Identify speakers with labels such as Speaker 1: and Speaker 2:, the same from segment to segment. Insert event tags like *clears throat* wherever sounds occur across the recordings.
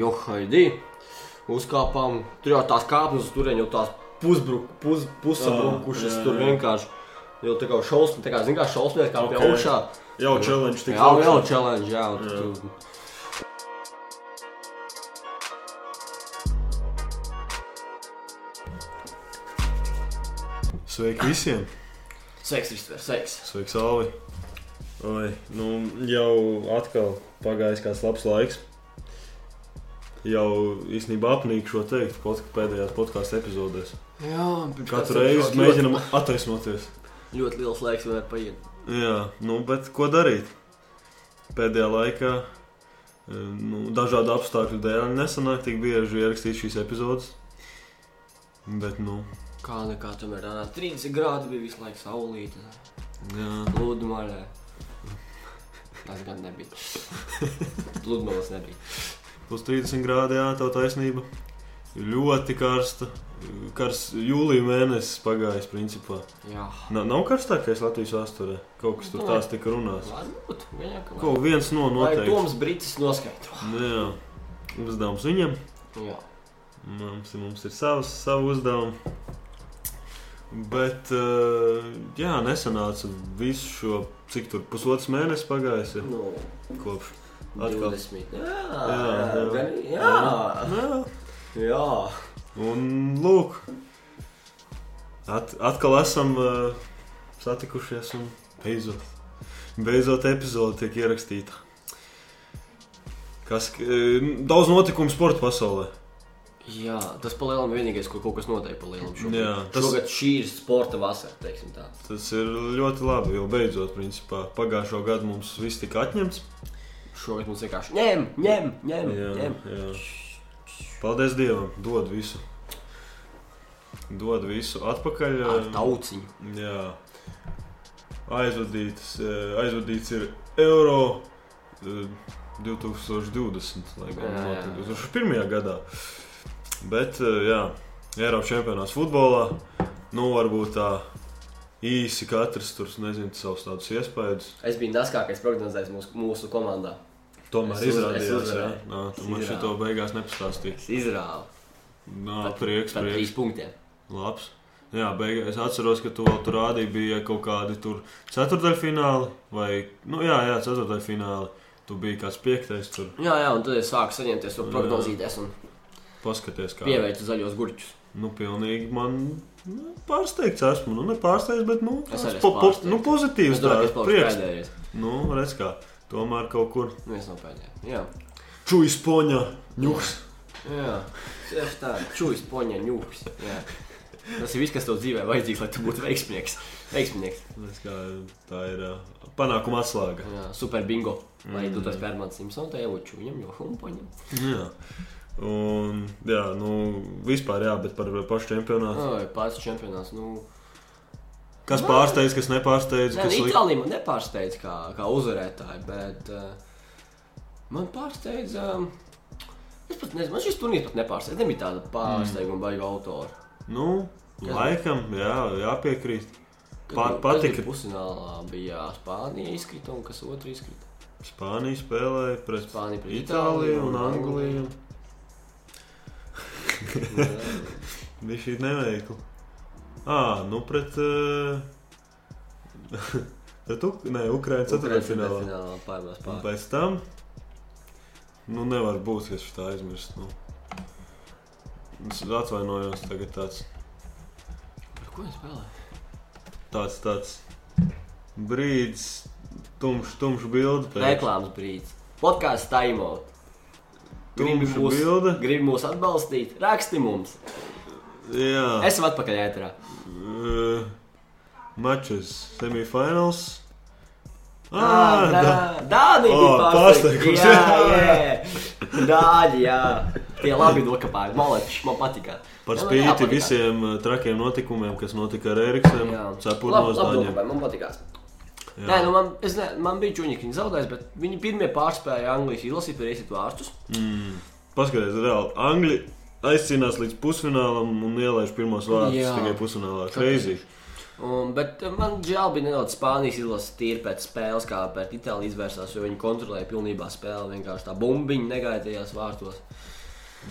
Speaker 1: Jo, haidī, uzkāpām. Tur jau tās kāpnes, tur jau tās pusbruk- pus- pusabrukušas.
Speaker 2: Ah, Jā, jā,
Speaker 1: Tur
Speaker 2: jā.
Speaker 1: vienkārši jau tā kā šausmas, tā kā zina, kā šausmas, kā pie
Speaker 2: Ok.
Speaker 1: augšā.
Speaker 2: Jau challenge tik
Speaker 1: Jā,
Speaker 2: augšā.
Speaker 1: jau challenge, jā. un
Speaker 2: Jā.
Speaker 1: tu-
Speaker 3: Sveiki visiem!
Speaker 1: Seks, Rister, seks.
Speaker 3: Sveiki, Sāli!
Speaker 2: Oi, nu jau atkal pagājis kāds labs laiks. Jau īstenībā apnīku šo teikt pod, pēdējās podkāstu epizodēs.
Speaker 1: Jā, pirms
Speaker 2: Katru
Speaker 1: tam
Speaker 2: reizi
Speaker 1: ļoti-
Speaker 2: mēģinam attaisnoties.
Speaker 1: Ļoti liels laiks vēl ir paiet.
Speaker 2: Jā, nu, bet ko darīt? Pēdējā laikā eh, nu, dažādu apstākļu dēļ nesanāk tik bieži ierakstīt šīs epizodes. Bet, nu,
Speaker 1: Kā nekā tomēr tādā 30 grādi bija visu laiku saulīte.
Speaker 2: jā.
Speaker 1: Pludmalē. Tas gan nebija. Pludmales nebija.
Speaker 2: Plus 30 grādi, jā, tā taisnība. Ļoti karsta. Kars jūlija mēnesis pagājis, principā.
Speaker 1: Jā.
Speaker 2: Na, nav karstākais Latvijas vēsturē. Kaut kas tur
Speaker 1: Nē.
Speaker 2: tās tika runāts.
Speaker 1: Varbūt, viņam kaut
Speaker 2: Kaut viens no
Speaker 1: Lai
Speaker 2: noteikti.
Speaker 1: Toms Brītis noskaidro.
Speaker 2: Nu, Jā, uzdevums viņam.
Speaker 1: Jā.
Speaker 2: Mums, ir- mums ir savs, savu uzdevumu. Bet, eh, jā, nesanāca visu šo, cik tur pusotrs mēnesis pagājis ir
Speaker 1: Nu,
Speaker 2: kopš. Atkal.
Speaker 1: 20. Jā,
Speaker 2: Jā, jā.
Speaker 1: gan, jā.
Speaker 2: Jā.
Speaker 1: Jā.
Speaker 2: Un lūk, at, atkal esam uh, satikušies un beidzot, beidzot epizode tiek ierakstīta. Kas, uh, daudz notikumu sporta pasaulē.
Speaker 1: Jā, tas palielam vienīgais, ko kaut kas noteikti palielam šogad.
Speaker 2: Jā, tas-
Speaker 1: Šogad šī ir sporta vasara, teiksim tā.
Speaker 2: Tas ir ļoti labi, jo beidzot, principā, pagājušo gadu mums viss tika atņemts.
Speaker 1: Šogad mums vienkārši ņem, ņem, ņem,
Speaker 2: Jā,
Speaker 1: ņem.
Speaker 2: jā. Paldies Dievam, dod visu. Dod visu atpakaļ.
Speaker 1: Ar
Speaker 2: eh,
Speaker 1: tauciņu.
Speaker 2: Jā, aizvadīts, eh, aizvadīts ir eiro eh, 2020. Lai gan
Speaker 1: Jā, jā.
Speaker 2: notika 2001. gadā. Bet, eh, jā, Eiropas čempionāts futbolā, nu varbūt tā īsi katrs tur nezina savus tādus iespējas.
Speaker 1: Es biju naskākais prognozējis mūsu, mūsu komandā.
Speaker 2: Tomēr
Speaker 1: Es uz-
Speaker 2: izrādījās,
Speaker 1: es
Speaker 2: ka
Speaker 1: uzvarēju.
Speaker 2: tu man
Speaker 1: Jā.
Speaker 2: šito beigās nepastāstīji.
Speaker 1: Es izrāvu.
Speaker 2: Nā, prieks,
Speaker 1: par
Speaker 2: prieks.
Speaker 1: trīs punktiem.
Speaker 2: Labs. Jā, beigās es atceros, ka tu vēl tur rādīji, bija kaut kādi tur ceturdaļfināli vai, nu jā, jā ceturdaļfināli. Tu biji kāds piektais tur.
Speaker 1: Jā, jā, un tad es sāku saņemties to prognozīties un
Speaker 2: Paskaties, kā
Speaker 1: pievērtu zaļos gurķus.
Speaker 2: Nu, pilnīgi man nu, pārsteigts esmu. Nu, ne pārsteigts, bet, nu,
Speaker 1: Es arī
Speaker 2: po, po,
Speaker 1: pārsteigts.
Speaker 2: nu pozitīvs
Speaker 1: Es domāju, ka
Speaker 2: tāds
Speaker 1: es paliku
Speaker 2: prieks.
Speaker 1: pēdējais.
Speaker 2: Nu, redz kā, tomēr kaut kur
Speaker 1: Nu, es no pēdējais. Jā,
Speaker 2: čujas poņa ņuks.
Speaker 1: jā. Tieši tā, čūjas poņa ņūks. Jā. Tas ir viss, kas tev dzīvē vajadzīgs, lai tu būtu veiksmīgs. Veiksmīgs.
Speaker 2: Redz kā, tā ir ā, panākuma atslēga.
Speaker 1: Jā, super bingo. Vai tu tas pērmāts Simpsons, tā jau čūņam, jo un poņam.
Speaker 2: Jā. Un, jā, nu, vispār jā, bet par pašu čempionātu.
Speaker 1: Ai, Pāris čempionāts. Nu,
Speaker 2: Kas pārsteidz, kas nepārsteidz,
Speaker 1: Nē,
Speaker 2: kas
Speaker 1: nu,
Speaker 2: liek-
Speaker 1: Itālija man nepārsteidz kā, kā uzvarētāja, bet uh, man pārsteidz. Um, es pat nezinu, man šis turnīrs pat nepārsteidz. Nebija tāda pārsteiguma mm. baiga autora.
Speaker 2: Nu,
Speaker 1: Jā.
Speaker 2: laikam, jā, jāpiekrīt. Pā-
Speaker 1: Kas bija- kas
Speaker 2: patika.
Speaker 1: bija Pusfinālā bija Spānija izkrita un kas otrs izkrita.
Speaker 2: Spānija spēlēja pret
Speaker 1: Spānija pret
Speaker 2: Itāliju un Angliju.
Speaker 1: Angliju.
Speaker 2: Bija šī neveikla. Ah, nu pret. *laughs* Uh... Tad tu, nē, Ukraiņa ceturtajfinālā.
Speaker 1: Finālā pārvarēs
Speaker 2: Un
Speaker 1: pāri.
Speaker 2: pēc tam. Nu, nevar būt, ka es tā aizmirstu. Nu. Es atvainojos, tagad tāds,
Speaker 1: Par ko viņi spēlēja?
Speaker 2: tāds, tāds brīdis, tumšs, tumšs bilde. pēkšņi.
Speaker 1: Reklāmas brīdis. Podkāsts time out. Gribu
Speaker 2: Tumša
Speaker 1: mūs,
Speaker 2: bilde.
Speaker 1: grib mūs atbalstīt, raksti mums.
Speaker 2: Jā.
Speaker 1: Esam atpakaļ ēterā.
Speaker 2: Uh, matches, semifinals.
Speaker 1: Ah,
Speaker 2: Ah,
Speaker 1: dā,
Speaker 2: da.
Speaker 1: Dāni
Speaker 2: O,
Speaker 1: bija
Speaker 2: pārsteigums,
Speaker 1: pārsteigums. Jā,
Speaker 2: jā.
Speaker 1: jā. Dāni, jā. Tie labi nokapāja. Maleči, man patika.
Speaker 2: Par
Speaker 1: Jā, man
Speaker 2: spīti
Speaker 1: jāpatika.
Speaker 2: visiem uh, trakiem notikumiem, kas notika ar Eriksenu,
Speaker 1: Jā.
Speaker 2: cepurnos
Speaker 1: Labi- labi
Speaker 2: daņiem.
Speaker 1: nokopāja, Man patīkās.
Speaker 2: Jā.
Speaker 1: Nē, nu man, es ne, man bija ģuņķi, viņi zaudēs, bet viņi pirmie pārspēja Anglijas izlasīt par īstu vārstus.
Speaker 2: Mm. Paskaties, reāli, Angļi aizcīnās līdz pusfinālam un ielaiž pirmos vārdus
Speaker 1: Jā.
Speaker 2: tikai pusfinālā.
Speaker 1: Šokējoši.
Speaker 2: Crazy.
Speaker 1: Un, bet eh, man žēl bija nedaudz Spānijas izlases tīri pēc spēles, kā pēc Itālijas izvērsās, jo viņi kontrolēja pilnībā spēli. Vienkārši tā bumbiņa negaidījās vārtos.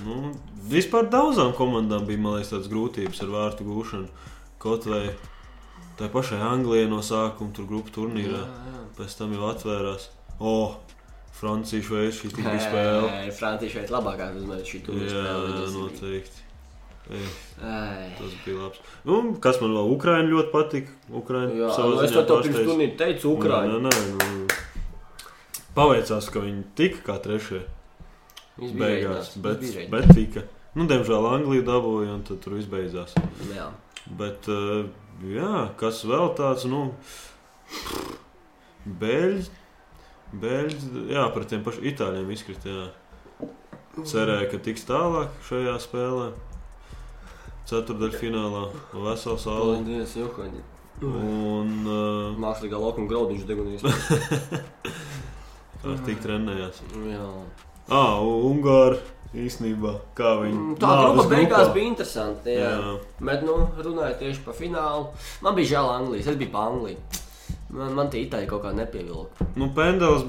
Speaker 2: Nu, vispār daudzām komandām bija man liekas, tādas grūtības ar vārtu gūšanu. Kaut vai tā pašai Anglijai no sākuma, tur grupu turnīrā. Pēc tam jau atvērās. O, Francija, Šveice, šī tik bija spēle.
Speaker 1: Francija šeit labākā uzmanība šī turnīra
Speaker 2: Jā,
Speaker 1: spēle.
Speaker 2: noteikti. Ei,
Speaker 1: Ai.
Speaker 2: tas bija labs. Un, kas man vēl Ukraiņa ļoti patika? Ukraiņa
Speaker 1: Jā, nu, es to tev pirms turnīra teicu, Ukraiņa.
Speaker 2: Nē, nē, nu, paveicās, ka viņi tika kā trešie
Speaker 1: Viņš bija
Speaker 2: beigās,
Speaker 1: reiķināts,
Speaker 2: bet,
Speaker 1: viņš bija
Speaker 2: bet tika. Nu, diemžēl Anglija dabūja un tad tur viss beidzās.
Speaker 1: reiķināts. Jā.
Speaker 2: Bet, eh, jā, kas vēl tāds, nu, beļģis, beļģis, jā, par tiem pašiem itāļiem izkrita. Jā. Cerēju, ka tiks tālāk šajā spēlē. Ceturdaļfinālā vesela saule.
Speaker 1: Paldies, Johaņi.
Speaker 2: Un uh,
Speaker 1: Mākslīgā laukuma graudiņš
Speaker 2: *laughs*
Speaker 1: degunīs.
Speaker 2: ar tik trenējās.
Speaker 1: Jā.
Speaker 2: Ah, Ungāri īstenībā, kā viņi.
Speaker 1: Mm, Tā grupa beigās bija interesanta. Jā.
Speaker 2: Jā.
Speaker 1: Jā. Bet, nu, runājot tieši par finālu, man bija žēl Anglijas. Es biju pa Angliju. Man, man tie itāļi kaut kā nepievilka.
Speaker 2: Nu, Pendels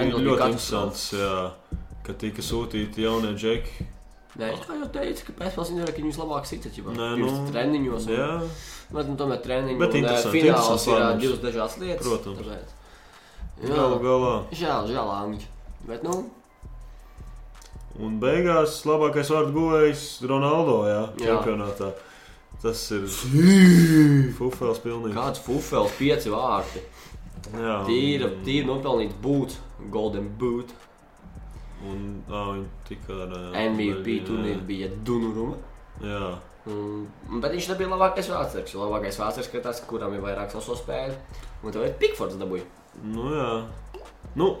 Speaker 1: Pendels
Speaker 2: Pendels
Speaker 1: bija
Speaker 2: ļoti
Speaker 1: katastrofa.
Speaker 2: interesants, jā, ka tika sūtīti jaunie džeki.
Speaker 1: Nē, es kā jau teicu, ka pēc tam ir viņas labāk sitečs.
Speaker 2: Nē,
Speaker 1: Pirms
Speaker 2: nu,
Speaker 1: treniņos. un-
Speaker 2: Jā,
Speaker 1: Bet, nu, tomēr treniņi
Speaker 2: Bet
Speaker 1: un, eh,
Speaker 2: interesanti,
Speaker 1: fināls
Speaker 2: interesants
Speaker 1: ir eh,
Speaker 2: lēmums.
Speaker 1: divas dažādas lietas.
Speaker 2: Protams.
Speaker 1: tāpēc.
Speaker 2: Galu
Speaker 1: Jā,
Speaker 2: galā.
Speaker 1: žēl, žēl Anglija. Bet, nu,
Speaker 2: Un beigās labākais vārdu guvējs Ronaldo jā,
Speaker 1: Jā.
Speaker 2: čempionātā. Tas ir Fufels pilnīgi.
Speaker 1: kāds fufels, pieci vārti.
Speaker 2: Jā, un-
Speaker 1: Tīri, tīri nopelnīts būt, golden boot.
Speaker 2: Un ā, viņi tika ar
Speaker 1: MVP turnīrā bija Dunuruma.
Speaker 2: Jā,
Speaker 1: Un, Mm, bet viņš nebija labākais vācis. Labākais vācis ir tas, kuram ir vairāk savu spēļu. Un tev ir Pikfords dabūja.
Speaker 2: nu jā. Nu,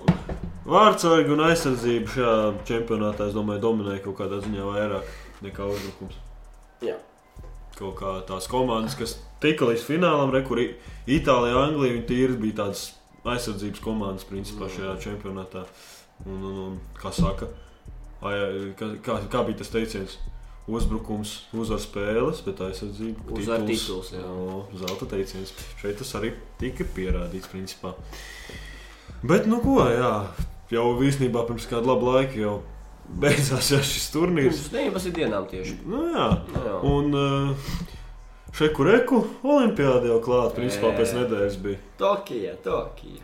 Speaker 2: Vārdsargi un aizsardzība šajā čempionātā, es domāju, dominēja kaut kādā ziņā vairāk nekā uzbrukums.
Speaker 1: Jā.
Speaker 2: Kaut kā tās komandas, kas tika līdz finālam, re, kur I- Itālijā, Anglijā, viņi tīri bija tādas aizsardzības komandas principā šajā čempionātā. Un, un, un kā saka, ai, ai, kā, eh, kā, kā bija tas teiciens? Uzbrukums uzvar spēles, bet aizsardzība
Speaker 1: Uzvar tituls, jā.
Speaker 2: jā. Zelta teiciens. Šeit tas arī tika pierādīts, principā. Bet, nu, ko, jā, jau īstenībā pirms kāda laba laika jau beidzās jā, šis turnīrs.
Speaker 1: Pirms nevis ir dienām tieši.
Speaker 2: Nu, jā,
Speaker 1: Nu, jā.
Speaker 2: Un uh, šeku reku olimpiāda jau klāta, principā
Speaker 1: Jā.
Speaker 2: pēc nedēļas bija.
Speaker 1: Tokija, Tokija.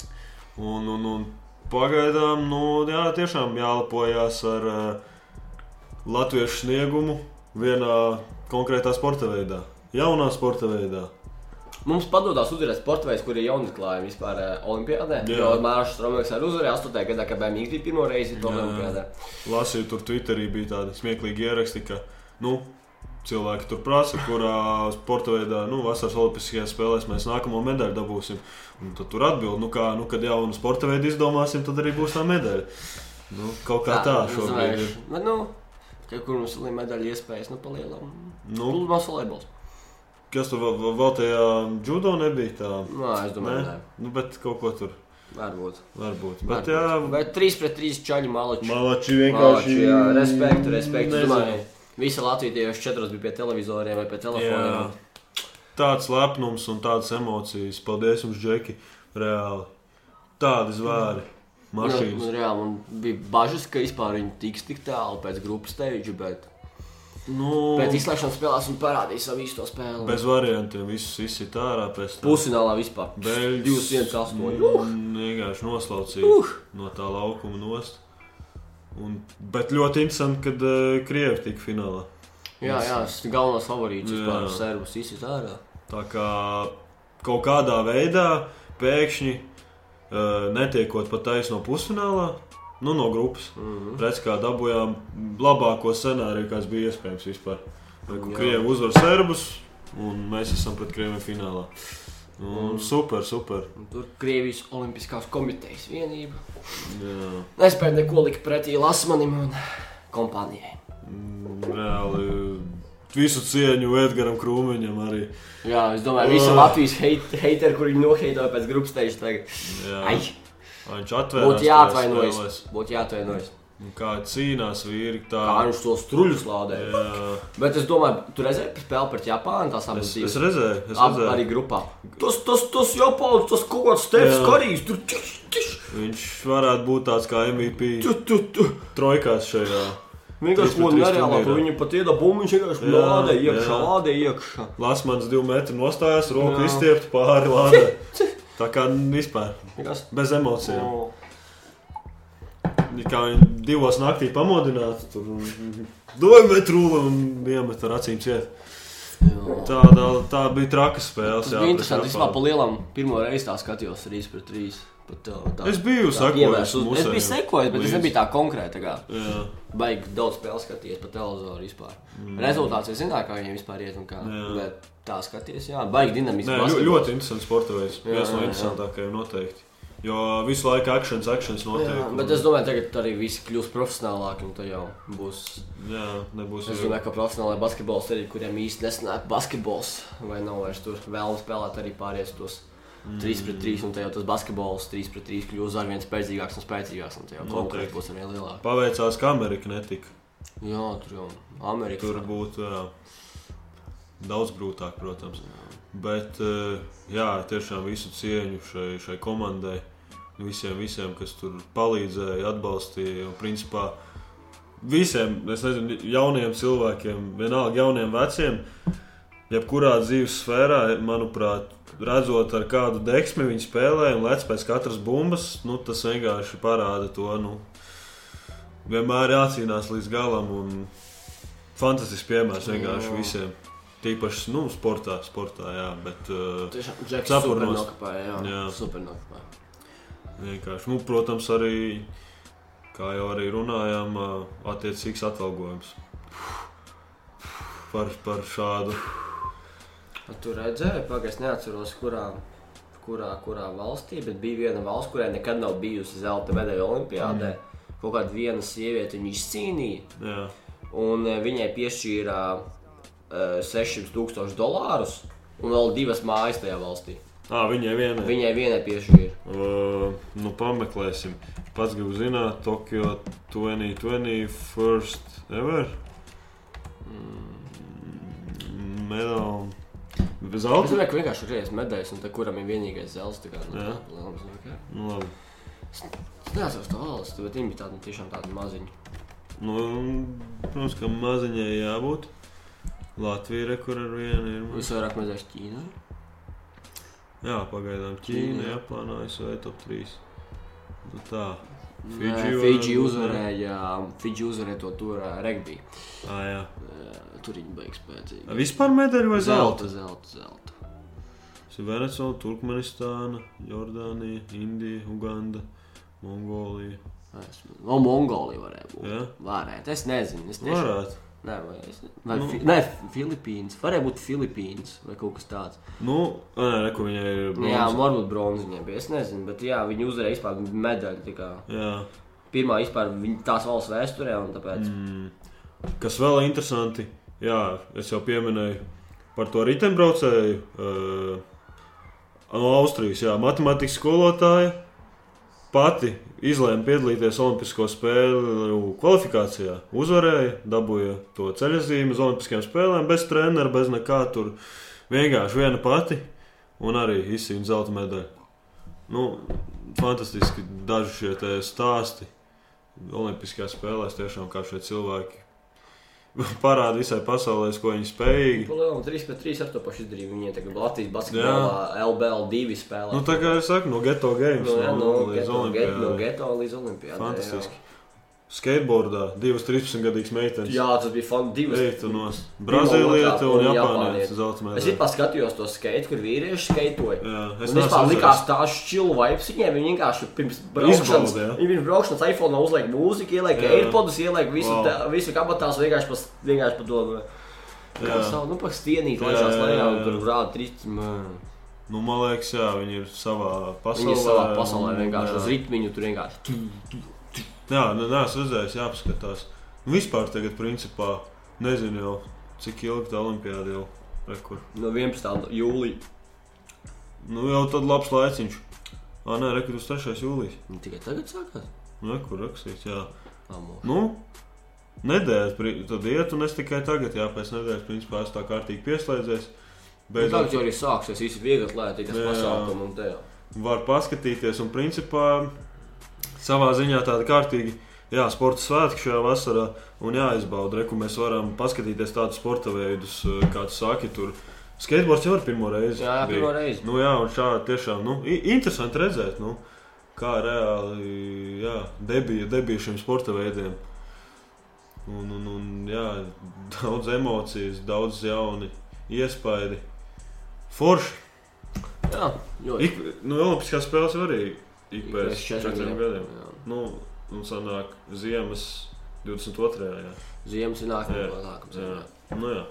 Speaker 2: Un, un, un pagaidām, nu, jā, tiešām jālepojās ar uh, latviešu sniegumu vienā konkrētā sporta veidā, jaunā sporta veidā.
Speaker 1: Mums padodas uzvarēt sporta veids, kur ir jaunatklājumi vispār eh, Olimpiadē.
Speaker 2: Jā.
Speaker 1: Jo Mārcis Strunmēks arī uzvarēja 8. gadā, kad BMW bija pirmo reizi to
Speaker 2: Jā.
Speaker 1: Olimpiadē.
Speaker 2: Lasīju tur Twitterī bija tādi smieklīgi ieraksti, ka, nu, cilvēki tur prasa, kurā sporta veidā, nu, vasaras olimpiskajās spēlēs mēs nākamo medaļu dabūsim. Un tad tur atbild, nu, kā, nu, kad jaunu sporta veidu izdomāsim, tad arī būs tā medaļa. Nu, kaut kā tā, tā šobrīd. ir.
Speaker 1: Bet, nu, ka- kur mums ir medaļu iespējas, nu, palielinām.
Speaker 2: Nu,
Speaker 1: Pludmales volejbols.
Speaker 2: kas tur vēl, vēl tajā judo nebija tā?
Speaker 1: Nē, es domāju,
Speaker 2: Nē?
Speaker 1: nē.
Speaker 2: Nu, bet kaut ko tur
Speaker 1: Varbūt.
Speaker 2: varbūt.
Speaker 1: Varbūt.
Speaker 2: Bet, jā,
Speaker 1: Bet 3 pret 3 čaļu maliču.
Speaker 2: malači
Speaker 1: Vienkārši
Speaker 2: vienkārši.
Speaker 1: jā, respektu, respektu.
Speaker 2: Nezinu.
Speaker 1: Domāju, visi Latvijas tieši četros bija pie televizoriem vai pie
Speaker 2: Jā.
Speaker 1: telefoniem.
Speaker 2: Tāds lepnums un tādas emocijas. Paldies jums, Džeki. Reāli. Tādi zvēri.
Speaker 1: Un,
Speaker 2: Mašīnas.
Speaker 1: un, Nu, reāli, man bija bažas, ka vispār viņi tiks tik tālu pēc grupas steidža, bet
Speaker 2: Nu,
Speaker 1: pēc izslēgšanas spēlēs un parādīs savu īsto spēli.
Speaker 2: bez variantiem. Visus izsit ārā pēc tam.
Speaker 1: Pusfinālā vispār.
Speaker 2: Beļģis.
Speaker 1: 2-1-8.
Speaker 2: Mm, Vienkārši noslaucīja uh. no tā laukuma nost. Un, bet ļoti interesanti, kad uh, Krievija tika finālā.
Speaker 1: Jā, jā, tas ir galvenais favorīts vispār.
Speaker 2: Jā.
Speaker 1: Servus izsit ārā.
Speaker 2: Tā kā kaut kādā veidā pēkšņi uh, netiekot pat taisno pusfinālā, nu, no grupas, mm
Speaker 1: Mhm.
Speaker 2: -hmm. redz, kā dabūjām labāko scenāriju, kāds bija iespējams vispār. Vai kur
Speaker 1: Jā.
Speaker 2: Krievi uzvar serbus, un mēs esam pret krieviem finālā. Un super, super.
Speaker 1: Un Tur Krievijas Olimpiskās komitejas vienība.
Speaker 2: Jā.
Speaker 1: Nespēja neko likt pretī Lasmanim un kompānijai.
Speaker 2: Mm, Reāli visu cieņu Edgars Krūmiņam arī.
Speaker 1: Jā, es domāju, visi
Speaker 2: Ugh.
Speaker 1: Latvijas hate- heiteri, kuri viņu noheidoja pēc grupas steidža, tagad.
Speaker 2: Jā,
Speaker 1: Ai,
Speaker 2: Viņš atvērās.
Speaker 1: būtu
Speaker 2: tajās
Speaker 1: jāatvainojas.
Speaker 2: spēlēs.
Speaker 1: Būtu jāatvainojas.
Speaker 2: Un Kā cīnās vīri, tā
Speaker 1: Kā viņš to struļus lādēja.
Speaker 2: Jā,
Speaker 1: Bet es domāju, tur reizē spēlē pret Japānu, tās abas
Speaker 2: es,
Speaker 1: divas.
Speaker 2: es redzēju, es
Speaker 1: Ab,
Speaker 2: redzēju.
Speaker 1: arī grupā. Tas, tas, tas Japāns, tas kaut kāds stevs
Speaker 2: Jā.
Speaker 1: karīgs, tur čiš, čiš,
Speaker 2: Viņš varētu būt tāds kā MVP
Speaker 1: tu, tu, tu.
Speaker 2: trojkās šajā.
Speaker 1: Vienkārši
Speaker 2: Trīs pret
Speaker 1: kaut kā
Speaker 2: trīs
Speaker 1: nereālā,
Speaker 2: turnīrā.
Speaker 1: kur viņi pat ieda bumbu, viņš vienkārši
Speaker 2: Jā,
Speaker 1: lādē iekšā,
Speaker 2: jā.
Speaker 1: lādē iekšā.
Speaker 2: Lasmans divu metru nostājās, roku
Speaker 1: Jā.
Speaker 2: izstiept pāri lādē. Tā kā vispār
Speaker 1: Kas?
Speaker 2: bez emocijām.
Speaker 1: O,
Speaker 2: Ja Kā viņi divos naktī pamodināti, tur divu metru rūlu un iemet ar acīm ciet.
Speaker 1: jā.
Speaker 2: Tā, tā, tā bija traka spēle.
Speaker 1: Tas bija interesanti. Es pa lielam pirmo reizi tā skatījos 3 pret 3. Pat, tā, tā,
Speaker 2: Es biju
Speaker 1: tā
Speaker 2: sakojis.
Speaker 1: pievērsu- es biju sekojis, bet es
Speaker 2: Līdz.
Speaker 1: nebiju tā konkrēti. tā kā.
Speaker 2: Jā,
Speaker 1: baigi daudz spēles skaties pa televizoru vispār. Mm. Rezultāts jau zināja, kā viņiem vispār iet un kā.
Speaker 2: Jā.
Speaker 1: Bet tā skaties, jā, baigi dinamiski.
Speaker 2: Nē, ļo,
Speaker 1: basketbols.
Speaker 2: ļoti interesants sporta veids.
Speaker 1: Jā,
Speaker 2: Viens no
Speaker 1: jā, jā.
Speaker 2: interesantākajiem noteikti. Jo visu laiku akcents, akcents notiek.
Speaker 1: Jā,
Speaker 2: un-
Speaker 1: bet es domāju, tagad arī visi kļūs profesionālāki, un tā jau būs.
Speaker 2: jā, nebūs
Speaker 1: Es domāju, ka profesionālajā basketbolā arī, kuriem īsti nesanāk basketbols, vai nav vairs tur vēlams spēlēt, arī pāries tos
Speaker 2: Mm.
Speaker 1: 3 pret 3, un tā jau tas basketbols 3 pret 3 kļūs ar vien spēcīgāks un spēcīgāks, un tā jau
Speaker 2: Noteikti.
Speaker 1: konkurence būs ar vien lielāka.
Speaker 2: Paveicās, ka Amerika netika.
Speaker 1: Jā, tur jau Amerikā.
Speaker 2: Tur būtu jā, daudz grūtāk, protams. Bet eh, jā, tiešām visu cieņu šai, šai komandai. Visiem, visiem, kas tur palīdzēja, atbalstīja. Un, principā, visiem, es nezinu, jauniem cilvēkiem, vienalga jauniem, veciem, jebkurā dzīves sfērā, manuprāt, redzot, ar kādu deksmi viņi spēlē un lec pēc katras bumbas, nu, tas vienkārši parāda to. Nu, vienmēr jācīnās līdz galam. Un, Fantastisks piemērs vienkārši
Speaker 1: Jā.
Speaker 2: visiem. Tīpaši, nu, sportā, sportā, jā, bet uh,
Speaker 1: Tiešām, Džeks, super
Speaker 2: Cepurnos.
Speaker 1: nokāpēja, jā, jā.
Speaker 2: Jā.
Speaker 1: super nokāpēja.
Speaker 2: vienkārši, nu, protams, arī, kā jau arī runājām, uh, attiecīgs atalgojums par, par šādu.
Speaker 1: Nu, Tu redzēji, pagaidi, es neatceros, kurā, kurā, kurā valstī, bet bija viena valsts, kurai nekad nav bijusi zelta medaļa Olimpijādē. Mm. Kaut kāda viena sieviete viņu izcīnīja,
Speaker 2: Jā,
Speaker 1: un eh, viņai piešķīra eh, 600 tūkstošus dolārus un vēl divas mājas tajā valstī.
Speaker 2: à, viņai vienai.
Speaker 1: Viņai vienai piešķīra.
Speaker 2: Uh, nu, pameklēsim. Pats gribu zināt, Tokyo 2020 first ever. Mm, Medal.
Speaker 1: Es
Speaker 2: Zelta?
Speaker 1: domāju, ka vienkārši ir reizes medaļas, un te, kuram ir vienīgais zelts. tā Kā, nu,
Speaker 2: Jā.
Speaker 1: tā, lielums, nu, kā.
Speaker 2: Nu, labi.
Speaker 1: Es neatceros to valsti, bet viņi bija tādi nu, tiešām tādi maziņi.
Speaker 2: Nu, protams, ka maziņai jābūt. Latvija re, kur ar vienu ir. maz-
Speaker 1: Visvairāk medaļas Ķīnā.
Speaker 2: Jā, pagaidām Ķīna,
Speaker 1: Ķīna.
Speaker 2: Japāna, ASV top 3. Nu, tā. Fidži
Speaker 1: Nē,
Speaker 2: var-
Speaker 1: Fidži uzvarēja, Fidži uzvarēja to tur eh, regbiju.
Speaker 2: Ah, jā.
Speaker 1: Eh, Tur viņi beigs spēcīgi.
Speaker 2: Vispār medaļu vai zelta?
Speaker 1: Zelta, zelta, zelta.
Speaker 2: Tas ir Venecuēla, Turkmenistāna, Jordānija, Indija, Uganda, Mongolija.
Speaker 1: Esmu. No Mongolijas varēja būt.
Speaker 2: Jā?
Speaker 1: Varētu, es nezinu. Es tiešām...
Speaker 2: Varētu.
Speaker 1: Nē, vai es ne... vai
Speaker 2: Nu.
Speaker 1: nu. fi... Nē, Filipīnas. Varēja būt Filipīnas vai kaut kas tāds.
Speaker 2: Nu, nē, reku viņai ir
Speaker 1: Bronz. Jā,
Speaker 2: bronza.
Speaker 1: varbūt bronziņā bija. Es nezinu, bet jā, viņi uzvarēja vispār medaļu. tā kā.
Speaker 2: Jā.
Speaker 1: Pirmā vispār viņa tās valsts vēsturē, un tāpēc. Mm.
Speaker 2: Kas vēl ir interesanti, jā, es jau pieminēju par to riteņbraucēju eh, no Austrijas. Jā, matemātikas skolotāja pati izlēma piedalīties Olimpisko spēļu kvalifikācijā. Uzvarēja, dabūja to ceļojumu uz Olimpiskajām spēlēm, bez treneru, bez nekā tur. Vienkārši viena pati un arī izcīna zelta medaļu. Nu, fantastiski daži šie te stāsti. Olimpiskajās spēlēs tiešām kā šie cilvēki *laughs* parāda visai pasaulē, ko viņi spējīgi.
Speaker 1: Lielam 3 pret 3 ar to pašu izdarīju. Viņiem tagad Latvijas basketbolā LBL2 spēlē.
Speaker 2: Nu, tā kā es saku, no geto *laughs* games,
Speaker 1: no, jā, no, geto,
Speaker 2: līdz
Speaker 1: get, no
Speaker 2: Olimpijai.
Speaker 1: geto līdz Olimpijai.
Speaker 2: Fantastiski. Skateboardā divas 13-gadīgas meitenes.
Speaker 1: Jā, tas bija fun. Divas
Speaker 2: Eitu no Brazīlietes
Speaker 1: otrā
Speaker 2: un
Speaker 1: un
Speaker 2: Japānijas
Speaker 1: Japāniete.
Speaker 2: zelta
Speaker 1: Es
Speaker 2: medaļu.
Speaker 1: vienkār skatījos to skate, kur vīrieši skateoja.
Speaker 2: Jā,
Speaker 1: Es
Speaker 2: es
Speaker 1: vispār
Speaker 2: neesmu
Speaker 1: likās
Speaker 2: redzējis.
Speaker 1: tā šķila vibes viņiem. Viņi vienkārši pirms braukšanas,
Speaker 2: Izbauda, jā.
Speaker 1: viņi pirms braukšanas iPhone uzliek mūziku, ieliek
Speaker 2: Jā.
Speaker 1: AirPods, ieliek visu,
Speaker 2: Vau.
Speaker 1: wow. tā, visu kabatās, vienkārši pa, vienkārši pa to. Kā
Speaker 2: Jā.
Speaker 1: savu, nu, pa stienīt,
Speaker 2: Jā,
Speaker 1: lai šās
Speaker 2: jā,
Speaker 1: lejā
Speaker 2: jā,
Speaker 1: un
Speaker 2: jā.
Speaker 1: tur rāda trīs. man.
Speaker 2: Nu, man liekas, jā, viņi ir savā pasaulē.
Speaker 1: Viņi ir savā pasaulē
Speaker 2: un-
Speaker 1: vienkārši
Speaker 2: jā.
Speaker 1: uz ritmiņu tur vienkārši.
Speaker 2: Jā, nu, nē, nē, es redzēju, jāpaskatās. Nu, Vispār tagad, principā, nezinu jau, cik ilgi tā olimpiāda jau ir. Kur.
Speaker 1: No 11. nu, jūlija.
Speaker 2: Nu, jau tad labs laiciņš. Ah, nē, rekur uz 3. jūlijas.
Speaker 1: Nu, Tikai tagad sākās.
Speaker 2: Nu, rekur rakstīts, jā.
Speaker 1: Amo.
Speaker 2: Nu, nedēļas, pri- tad iet, un es tikai tagad, jā, pēc nedēļas, principā, es tā kārtīgi pieslēdzies.
Speaker 1: Bet Nu,
Speaker 2: Beidzot,
Speaker 1: tagad jau arī sāksies īsi viegli atlētīgas
Speaker 2: nu- Jā.
Speaker 1: pasākumu un te jau.
Speaker 2: var paskatīties. Un, principā, savā ziņā tāda kārtīga jā, sporta svētki šajā vasarā un jāizbauda. Reku mēs varam paskatīties tādus sporta veidus, eh, kāds saka, tur skateboards jau ir pirmo reizi.
Speaker 1: Jā,
Speaker 2: bija.
Speaker 1: pirmo reizi.
Speaker 2: Nu, jā, un šādi tiešām nu, i- interesanti redzēt, nu, kā reāli jā, debija, debija šiem sporta veidiem. Un, un, un, jā, *laughs* daudz emocijas, daudz jauni iespaidi. Forši!
Speaker 1: Jā, ļoti.
Speaker 2: Ik, nu, Olimpiskās spēles jau arī ik pēc
Speaker 1: pēc četriem
Speaker 2: četriem gadiem.
Speaker 1: Jā.
Speaker 2: Nu, un sanāk ziemas 22. jā.
Speaker 1: Ziemas ir
Speaker 2: Jā.
Speaker 1: nākamā nākamā
Speaker 2: jā.
Speaker 1: ziemā.
Speaker 2: Nu, jā.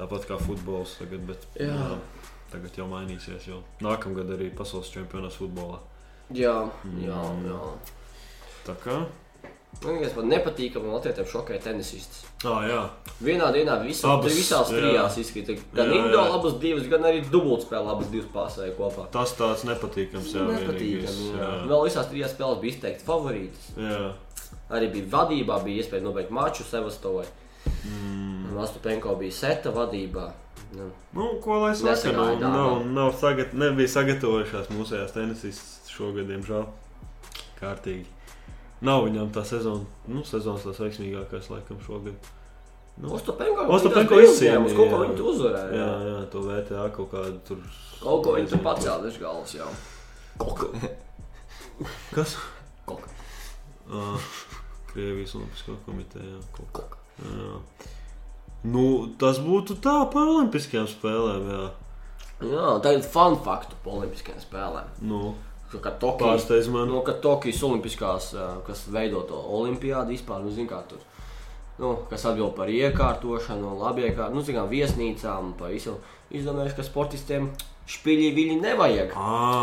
Speaker 2: Tāpat kā futbols tagad, bet nu,
Speaker 1: Jā.
Speaker 2: tagad jau mainīsies. Jau. Nākamgad arī pasaules čempionāts futbolā.
Speaker 1: Jā, jā,
Speaker 2: Mm.
Speaker 1: jā.
Speaker 2: Tā kā.
Speaker 1: Man liekas, man nepatīkami latviešiem šokē tenisists.
Speaker 2: Ah, jā,
Speaker 1: Vienā dienā visā,
Speaker 2: Abas,
Speaker 1: visās
Speaker 2: jā.
Speaker 1: trijās izskatās, gan
Speaker 2: Jā, jā.
Speaker 1: individuāli abas divas, gan arī dubultspēlē abas divas pārsēja kopā.
Speaker 2: tas tāds nepatīkams. Jā, vienīgais,
Speaker 1: Nepatīkami. jā. Vēl visās trijās spēlēs bija izteikti favorītas.
Speaker 2: jā. jā.
Speaker 1: Arī bija vadībā, bija iespēja nobeigt maču Sevastovai. Mm. Astupenko bija seta vadībā. Nu,
Speaker 2: Nu, ko lai saka? Nu,
Speaker 1: Nesagaidā,
Speaker 2: nav, nav sagat, nebija sagatavojušās mūsējās tenisīs šogad, diemžēl. Kārtīgi. Nav viņam tā sezona, nu, sezonas tās veiksmīgākais laikam šogad. Nu,
Speaker 1: Ostopenko
Speaker 2: Ostapenko izcīnīja,
Speaker 1: Uz kaut ko
Speaker 2: jā.
Speaker 1: viņi uzvarēja.
Speaker 2: jā, jā, to VTA kaut kādu tur.
Speaker 1: Kaut ko viņi tur pacēla uz galvas jau.
Speaker 2: Kas?
Speaker 1: Kok.
Speaker 2: Ā, Krievijas Olimpiskā komitejā. Kaut
Speaker 1: Kok.
Speaker 2: kā. Jā. Nu, tas būtu tā par Olimpiskajām spēlēm, jā.
Speaker 1: Jā, tagad fun faktu par Olimpiskajām spēlēm.
Speaker 2: Nu,
Speaker 1: Ka- Kad Tokijas,
Speaker 2: pārsteidz man.
Speaker 1: no, kad Tokijas Olimpiskās, ā, kas veido to olimpiādu vispār, nu, zin kā tur. Nu, kas atbild par iekārtošanu, labi iekārtošanu, nu, zin kā viesnīcām, par visu. Izdomājuši, ka sportistiem špiļi viņi nevajag.
Speaker 2: Ā,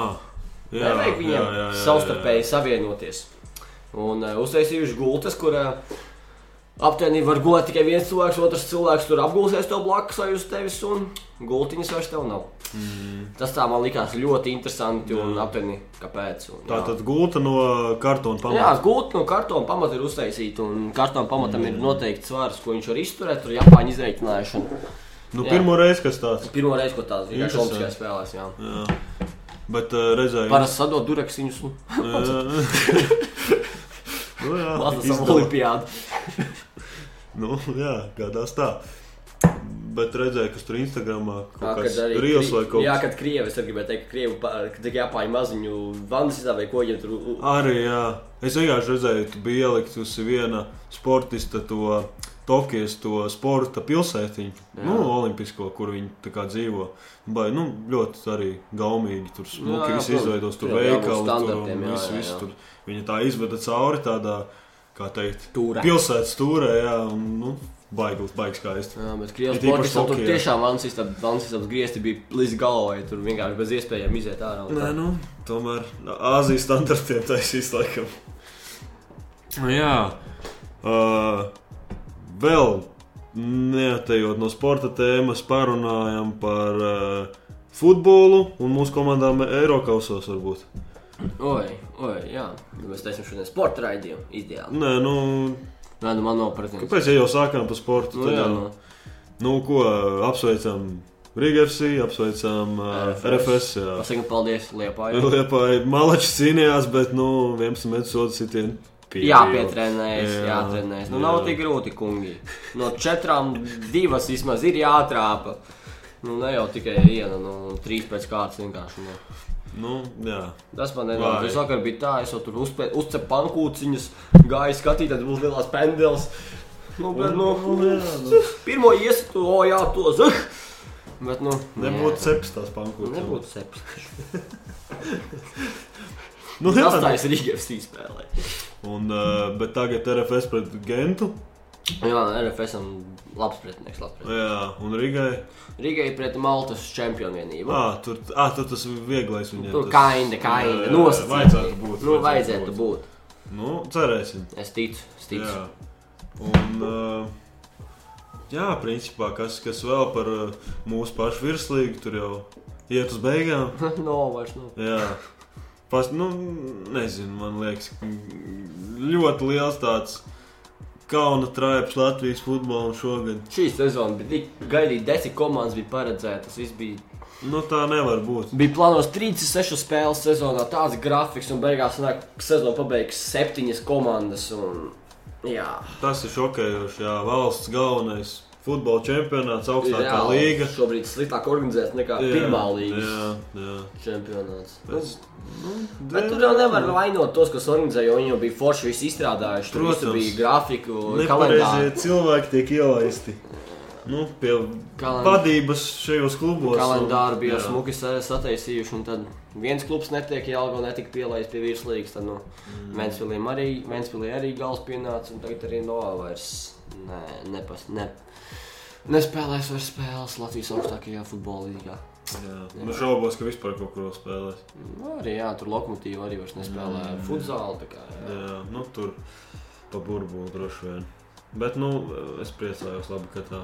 Speaker 2: jā,
Speaker 1: Nevajag
Speaker 2: jā,
Speaker 1: viņiem
Speaker 2: jā, jā, jā.
Speaker 1: savstarpēji savienoties. Un uh, uztaisījuši gultas, kur uh, aptuveni var gulēt tikai viens cilvēks, otrs cilvēks tur apgulsies tev blakus vai uz tevis, un gultiņas vairs tev nav. Mm. Tas tā man likās ļoti interesanti un aptuveni kāpēc. Un,
Speaker 2: Tā
Speaker 1: jā.
Speaker 2: tad gulta no kartona
Speaker 1: Jā,
Speaker 2: pamata.
Speaker 1: gulti no kartona pamata ir uztaisīta, un kartona pamatam mm. ir noteikti svars, ko viņš var izturēt. Tur ir Japāņu izreikināšana.
Speaker 2: Nu,
Speaker 1: jā.
Speaker 2: Pirmā reize, kas tāds
Speaker 1: Pirmā reize, ko tāds bija, ir
Speaker 2: Interesanti.
Speaker 1: Olimpiskajās spēlēs. jā.
Speaker 2: bija. Bet uh, reizē eh,
Speaker 1: Parasti sadod duraksiņus
Speaker 2: *laughs*
Speaker 1: un *laughs*
Speaker 2: nu, jā,
Speaker 1: lasa
Speaker 2: izdala.
Speaker 1: savu olimpiādu.
Speaker 2: Nu, jā, kādās tā. Bet redzēju, kas tur Instagramā
Speaker 1: Jā,
Speaker 2: kaut
Speaker 1: kad
Speaker 2: kāds
Speaker 1: arī
Speaker 2: Rijos
Speaker 1: kri-
Speaker 2: vai kaut
Speaker 1: Jā,
Speaker 2: kas
Speaker 1: kad krievi, es arī gribēju teikt, ka krievi, pa- kad tikai apāņu maziņu vandas izdevē, ko viņiem tur u- u-
Speaker 2: Arī, jā. Es vienkārši redzēju, tu biji ieliktusi viena sportista to Tokijas to sporta pilsētiņu, nu, olimpisko, kur viņi tā kā dzīvo. Vai, nu, ļoti arī gaumīgi tur
Speaker 1: Jā,
Speaker 2: smuki
Speaker 1: Nu, jā,
Speaker 2: viss
Speaker 1: protams.
Speaker 2: izveidos,
Speaker 1: Tur
Speaker 2: tur
Speaker 1: jau jābūt
Speaker 2: veikali, tur
Speaker 1: standartiem,
Speaker 2: un
Speaker 1: jā,
Speaker 2: viss,
Speaker 1: jā,
Speaker 2: viss
Speaker 1: jā.
Speaker 2: tur. Viņa tā izveda cauri tādā, kā teikt,
Speaker 1: Tūrē.
Speaker 2: pilsētas tūrē, jā, un, nu, baiglis, baigs kā es.
Speaker 1: Jā, bet
Speaker 2: Ir
Speaker 1: krievis
Speaker 2: tīpaši
Speaker 1: sportistam tur
Speaker 2: hokejā.
Speaker 1: tiešām vandas istabas vandas istabas griezti bija līdz galvai, tur vienkārši bez iespējām iziet ārā. un
Speaker 2: Nē,
Speaker 1: tā.
Speaker 2: nu, tomēr Āzijas standartiem taisīs laikam. Nu, jā, uh, vēl neatejot no sporta tēmas, parunājam par uh, futbolu un mūsu komandām Eiropausos varbūt.
Speaker 1: Oi, oi, jā. Nu, Mēs taisam šodien sporta raidījumu ideāli.
Speaker 2: Nē, nu,
Speaker 1: Nē, nu man nav pretendenti.
Speaker 2: kāpēc ja jau sākām par sportu?
Speaker 1: Nu,
Speaker 2: Tad,
Speaker 1: jā,
Speaker 2: jau-
Speaker 1: nu.
Speaker 2: nu, ko apsveicam Rīgas, apsveicam uh,
Speaker 1: RFS.
Speaker 2: RFS. jā.
Speaker 1: Pasakam paldies Liepājai.
Speaker 2: Liepāja Malačs cīnījās, bet nu, 11 metrus sodu sitienu. pieeja.
Speaker 1: Jāpietrenējas,
Speaker 2: Jā,
Speaker 1: jātrenējas. Nu, nav
Speaker 2: jā.
Speaker 1: tik grūti, kungi. No četrām divas vismaz ir jātrāpa. Nu, ne jau tikai viena, nu, trīs pēc kārtas vienkārši. Nu.
Speaker 2: Nu, jā.
Speaker 1: Tas man
Speaker 2: Vai.
Speaker 1: nenāk. Es vakar biju tā, es jau tur uzpē- uzcepu pankūciņas, gāju skatīt, tad būs lielās pendels. Nu, bet, nu, pirmo iesaktu, o jā, to zah! Bet, nu,
Speaker 2: Nebūtu cepts tās pankūkas.
Speaker 1: Nebūtu sepas.
Speaker 2: *laughs* Nu, jā,
Speaker 1: Tas tā ir Rīgas spēlē.
Speaker 2: un, uh, bet tagad RFS pret Gentu
Speaker 1: Jā, RFS ir labs pretinieks. Labs pretinieks.
Speaker 2: jā, un Rīgai.
Speaker 1: Rīgai pret Maltas čempionu vienību.
Speaker 2: Ah, tur, ah, tur tas ir vieglais viņiem.
Speaker 1: Nu. Tur
Speaker 2: tas-
Speaker 1: kainde, kainde.
Speaker 2: Jā, jā,
Speaker 1: Nosacīti.
Speaker 2: Vajadzētu būt.
Speaker 1: Nu, vajadzētu būt.
Speaker 2: Nu, cerēsim.
Speaker 1: Es ticu, es ticu. *laughs*
Speaker 2: Jā. Un, uh, jā, principā, kas, kas vēl par uh, mūsu pašu virslīgu, tur jau iet uz beigām.
Speaker 1: no, vairs nu. nav.
Speaker 2: Jā, Pas, nu, nezinu, man liekas, ļoti liels tāds kauna traips Latvijas futbolam šogad.
Speaker 1: Šī sezona bija tik gaidīta, desmit komandas bija paredzētas. Viss bija,
Speaker 2: Nu, tā nevar būt.
Speaker 1: bija plānots 36 spēles sezonā, tāds grafiks, un beigās sanāk, ka sezona pabeigs septiņas komandas. Un, jā,
Speaker 2: Tas ir šokējoši. Jā, valsts galvenais futbola čempionāts, augstākā
Speaker 1: Reāli
Speaker 2: līga.
Speaker 1: Šobrīd sliktāk organizēts nekā jā, pirmā līnijas
Speaker 2: Jā, jā.
Speaker 1: čempionāts.
Speaker 2: Tas, nu,
Speaker 1: Bet tur jau nevar vainot tos, kas organizēja, jo viņi jau bija forši visu izstrādājuši. Tur visu
Speaker 2: Protams.
Speaker 1: bija grafiku,
Speaker 2: Nepareizie
Speaker 1: kalendāri.
Speaker 2: cilvēki tiek ielaisti. Nu, pie
Speaker 1: Kalen-
Speaker 2: vadības šajos klubos. un-
Speaker 1: Kalendāri bija
Speaker 2: jā.
Speaker 1: smuki sa- sataisījuši, un tad viens klubs netiek jālgo, netika pielaists pie virslīgas. Tad nu,
Speaker 2: Mm,
Speaker 1: Mansfieldim arī, Mansfieldī arī gals pienāca, un tagad arī Noā vairs ne, nepas, ne, nespēlēs vairs spēles Latvijas augstākajā futbola līgā.
Speaker 2: Jā. Nu, šaubos, ka vispār kaut kur vēl spēlēs.
Speaker 1: Nu, arī jā, tur lokomotīva arī vairs nespēlē mm. futzālu. tā kā, jā.
Speaker 2: Jā, nu, tur pa burbuli droši vien. Bet nu, es priecājos, labi, ka tā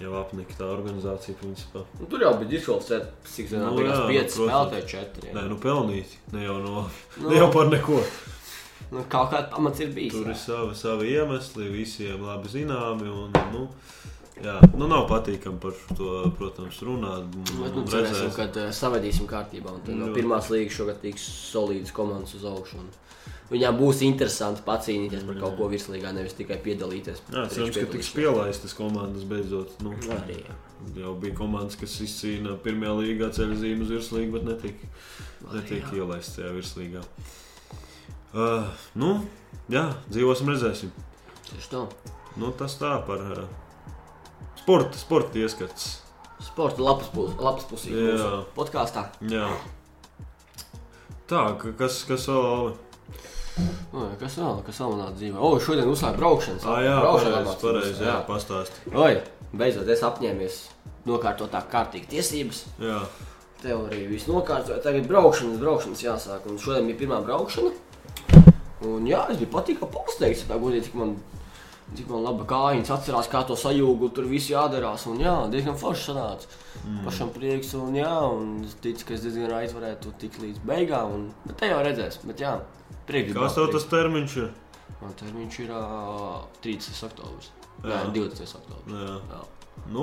Speaker 2: jau apnika tā organizācija. Principā.
Speaker 1: Nu, tur jau bija diškols, cik zinām,
Speaker 2: Nu,
Speaker 1: bija 5
Speaker 2: jā, protams.
Speaker 1: spēlētāji 4.
Speaker 2: Nē, nu pelnīti. Ne jau, no,
Speaker 1: Nu.
Speaker 2: ne jau par neko.
Speaker 1: Nu, kaut kāda pamats ir bijis.
Speaker 2: Tur
Speaker 1: jā.
Speaker 2: ir savi, savi iemesli, visiem labi zināmi. Un, nu, jā, nu, nav patīkami par to, protams, runāt. un-
Speaker 1: Bet, nu,
Speaker 2: un
Speaker 1: cerēsim,
Speaker 2: redzēs.
Speaker 1: ka uh, savadīsim kārtībā. un tad No
Speaker 2: Ļoti.
Speaker 1: pirmās līnijas šogad tiks solīdas komandas uz augšu. un Viņām būs interesanti pacīnīties par kaut ko virslīgā, nevis tikai piedalīties.
Speaker 2: Jā, cerams, ka tiks pielaistas komandas beidzot. Nu,
Speaker 1: Arī, jā.
Speaker 2: jau bija komandas, kas izcīna pirmajā līgā ceļu zīmē uz virslīgu, bet netika, netika ielaists tajā virslīgā. Uh, nu, jā, dzīvosim, redzēsim.
Speaker 1: Tieši tā.
Speaker 2: Nu, tas tā par uh, sporta, sporta ieskats.
Speaker 1: Sporta lapas pus- lapas pusē.
Speaker 2: Jā.
Speaker 1: mūsu Podkāstā.
Speaker 2: Jā. Tā, ka- kas, kas vēl Alvi?
Speaker 1: Nu, Kas vēl? Kas vēl manā dzīvē? O, šodien uzsāka braukšanas.
Speaker 2: Ā, Ah, jā,
Speaker 1: braukšana
Speaker 2: pareizi,
Speaker 1: apmācības,
Speaker 2: pareizi, jā, pastāsti.
Speaker 1: Oi, beidzot es apņēmies nokārtot tā kārtīgi tiesības.
Speaker 2: Jā,
Speaker 1: teorija viss nokārtoja. Tagad braukšanas, braukšanas jāsāk. Un šodien bija pirmā braukšana. Un jā, es biju patīkami pārsteigts. Tā godīgi, cik man, cik man laba kājiņas atcerās, kā to sajūgu. Tur viss jādarās. Un jā, diezgan forši sanāca. Mm. Pašam prieks. Un jā, un es ticu, ka es diezgan raiz varētu tikt līdz beigām. Un, bet te jau redzēs. Bet jā, prieks.
Speaker 2: kāds tev tas termiņš ir?
Speaker 1: Man termiņš ir uh, 30. oktobris. Nē,
Speaker 2: Jā.
Speaker 1: 20. oktobris.
Speaker 2: Jā.
Speaker 1: Jā.
Speaker 2: Nu,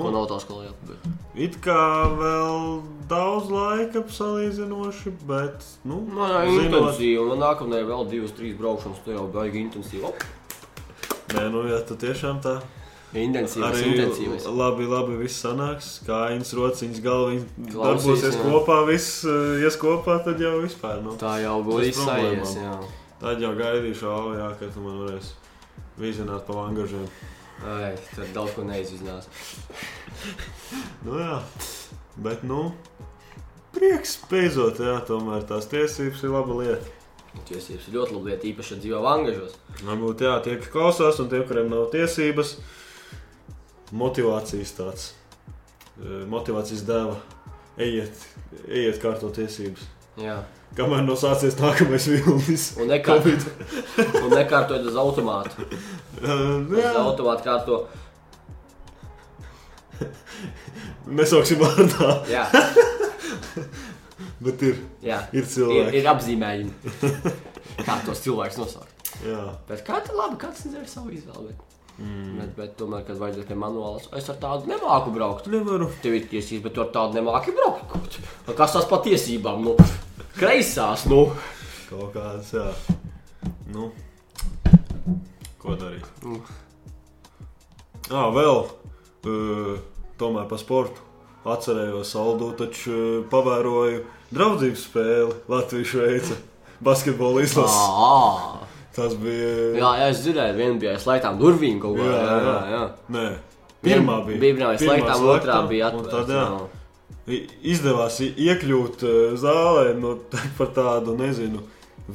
Speaker 1: Nu? Un autoskolā jau bija.
Speaker 2: It kā vēl daudz laika salīdzinoši, bet, nu,
Speaker 1: Nu, jā,
Speaker 2: zinot,
Speaker 1: intensīvi, un nākamajā nu, vēl divas, trīs braukšanas, tu jau baigi intensīvi. Op,
Speaker 2: Nē, nu, jā, tu tiešām tā.
Speaker 1: Intensīvs,
Speaker 2: Arī
Speaker 1: intensīvs.
Speaker 2: labi, labi viss sanāks. Kājas, rociņas, galviņas
Speaker 1: Klausīs,
Speaker 2: darbosies
Speaker 1: jā.
Speaker 2: kopā, viss eh, ies kopā, tad jau vispār. Nu.
Speaker 1: Tā jau
Speaker 2: Tas
Speaker 1: bija
Speaker 2: problēma.
Speaker 1: izsājies, jā.
Speaker 2: Tad jau gaidīšu, au, jā, ka tu man varēsi vizināt pa angažiem.
Speaker 1: Ai, tad daudz ko neizzinās.
Speaker 2: Nu, jā, bet, nu, prieks beidzot, jā, tomēr tās tiesības ir laba lieta.
Speaker 1: Tiesības ir ļoti labi lieta, īpaši, ja dzīvo angažos.
Speaker 2: Varbūt jā, tie, kas klausās, un tie, kuriem nav tiesības, motivācijas tāds, e, motivācijas deva. Ejiet, ejiet, kārto tiesības.
Speaker 1: Jā.
Speaker 2: Kamēr nav sācies nākamais vilnis,
Speaker 1: Un nekārt, un nekārtojot uz automātu. Uz
Speaker 2: Covid.
Speaker 1: automātu kārto.
Speaker 2: Nesauksim vārdā,
Speaker 1: Jā,
Speaker 2: bet ir,
Speaker 1: jā.
Speaker 2: ir
Speaker 1: Ir,
Speaker 2: cilvēki.
Speaker 1: ir apzīmējumi. Kā tos cilvēkus nosaukt.
Speaker 2: Jā,
Speaker 1: Bet kāds ir labi, kāds ir savu izvēli. Bet, mm. bet, bet tomēr, kad vajadzēja pie manuālas, es ar tādu nemāku braukt.
Speaker 2: nevaru.
Speaker 1: Tev ir tiesības, bet tu ar tādu nemāki braukt. kaut. Un Kas tas patiesībām? Nu, kreisās, nu.
Speaker 2: Kaut kāds, jā. Nu, ko darīt?
Speaker 1: Mm.
Speaker 2: Jā, vēl e, tomēr par sportu. Atcerējos, Aldu, taču e, pavēroju draudzības spēli Latvijas-Šveice basketbola izlases.
Speaker 1: Ā,
Speaker 2: Tas bija.
Speaker 1: Jā, jā, es dzirdēju, viena bija aizslēgtām durvīm kaut kā. Jā, jā, jā.
Speaker 2: Nē, pirmā
Speaker 1: Viena
Speaker 2: bija.
Speaker 1: Bija pirmā aizslēgtām,
Speaker 2: slēgtā,
Speaker 1: otrā bija
Speaker 2: un Tad,
Speaker 1: atvērta.
Speaker 2: jā, i- izdevās i- iekļūt e, zālē no, par tādu, nezinu,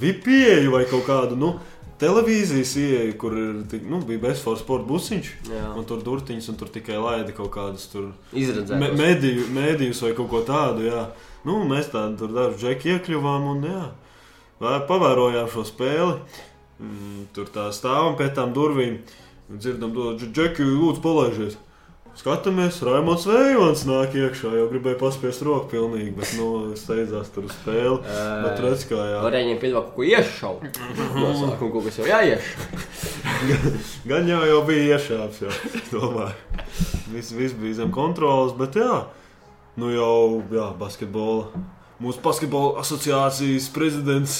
Speaker 2: vipieju vai kaut kādu. Nu, Televīzijas ieeja, kur ir, tik- nu, bija bezforma sporta busiņš,
Speaker 1: Jā.
Speaker 2: un tur durtiņas, un tur tikai laida kaut kādas tur Me-
Speaker 1: Izredzēta.
Speaker 2: mediju, mēdījus vai kaut ko tādu. Jā. Nu, mēs tādu tur dažu džeku iekļuvām un jā, vē- pavērojām šo spēli. Mm, Tur tā stāvam pie tām durvīm un dzirdam, ka džeki lūdzu palaižies. Skatāmies, Raimons Vējons nāk iekšā, jau gribēja paspiest roku pilnīgi, bet nu, steidzās tur uz spēli. Bet redz, kā jā.
Speaker 1: Varēja viņam piedāvāt kaut ko
Speaker 2: *laughs*
Speaker 1: iešaut. No sākuma kaut kas jau jāieš.
Speaker 2: Gan jau, jau bija iešāps, jau *laughs* domāju. Viss vis bija zem kontrolas, bet jā, nu jau jā, basketbola. Mūsu basketbola asociācijas prezidents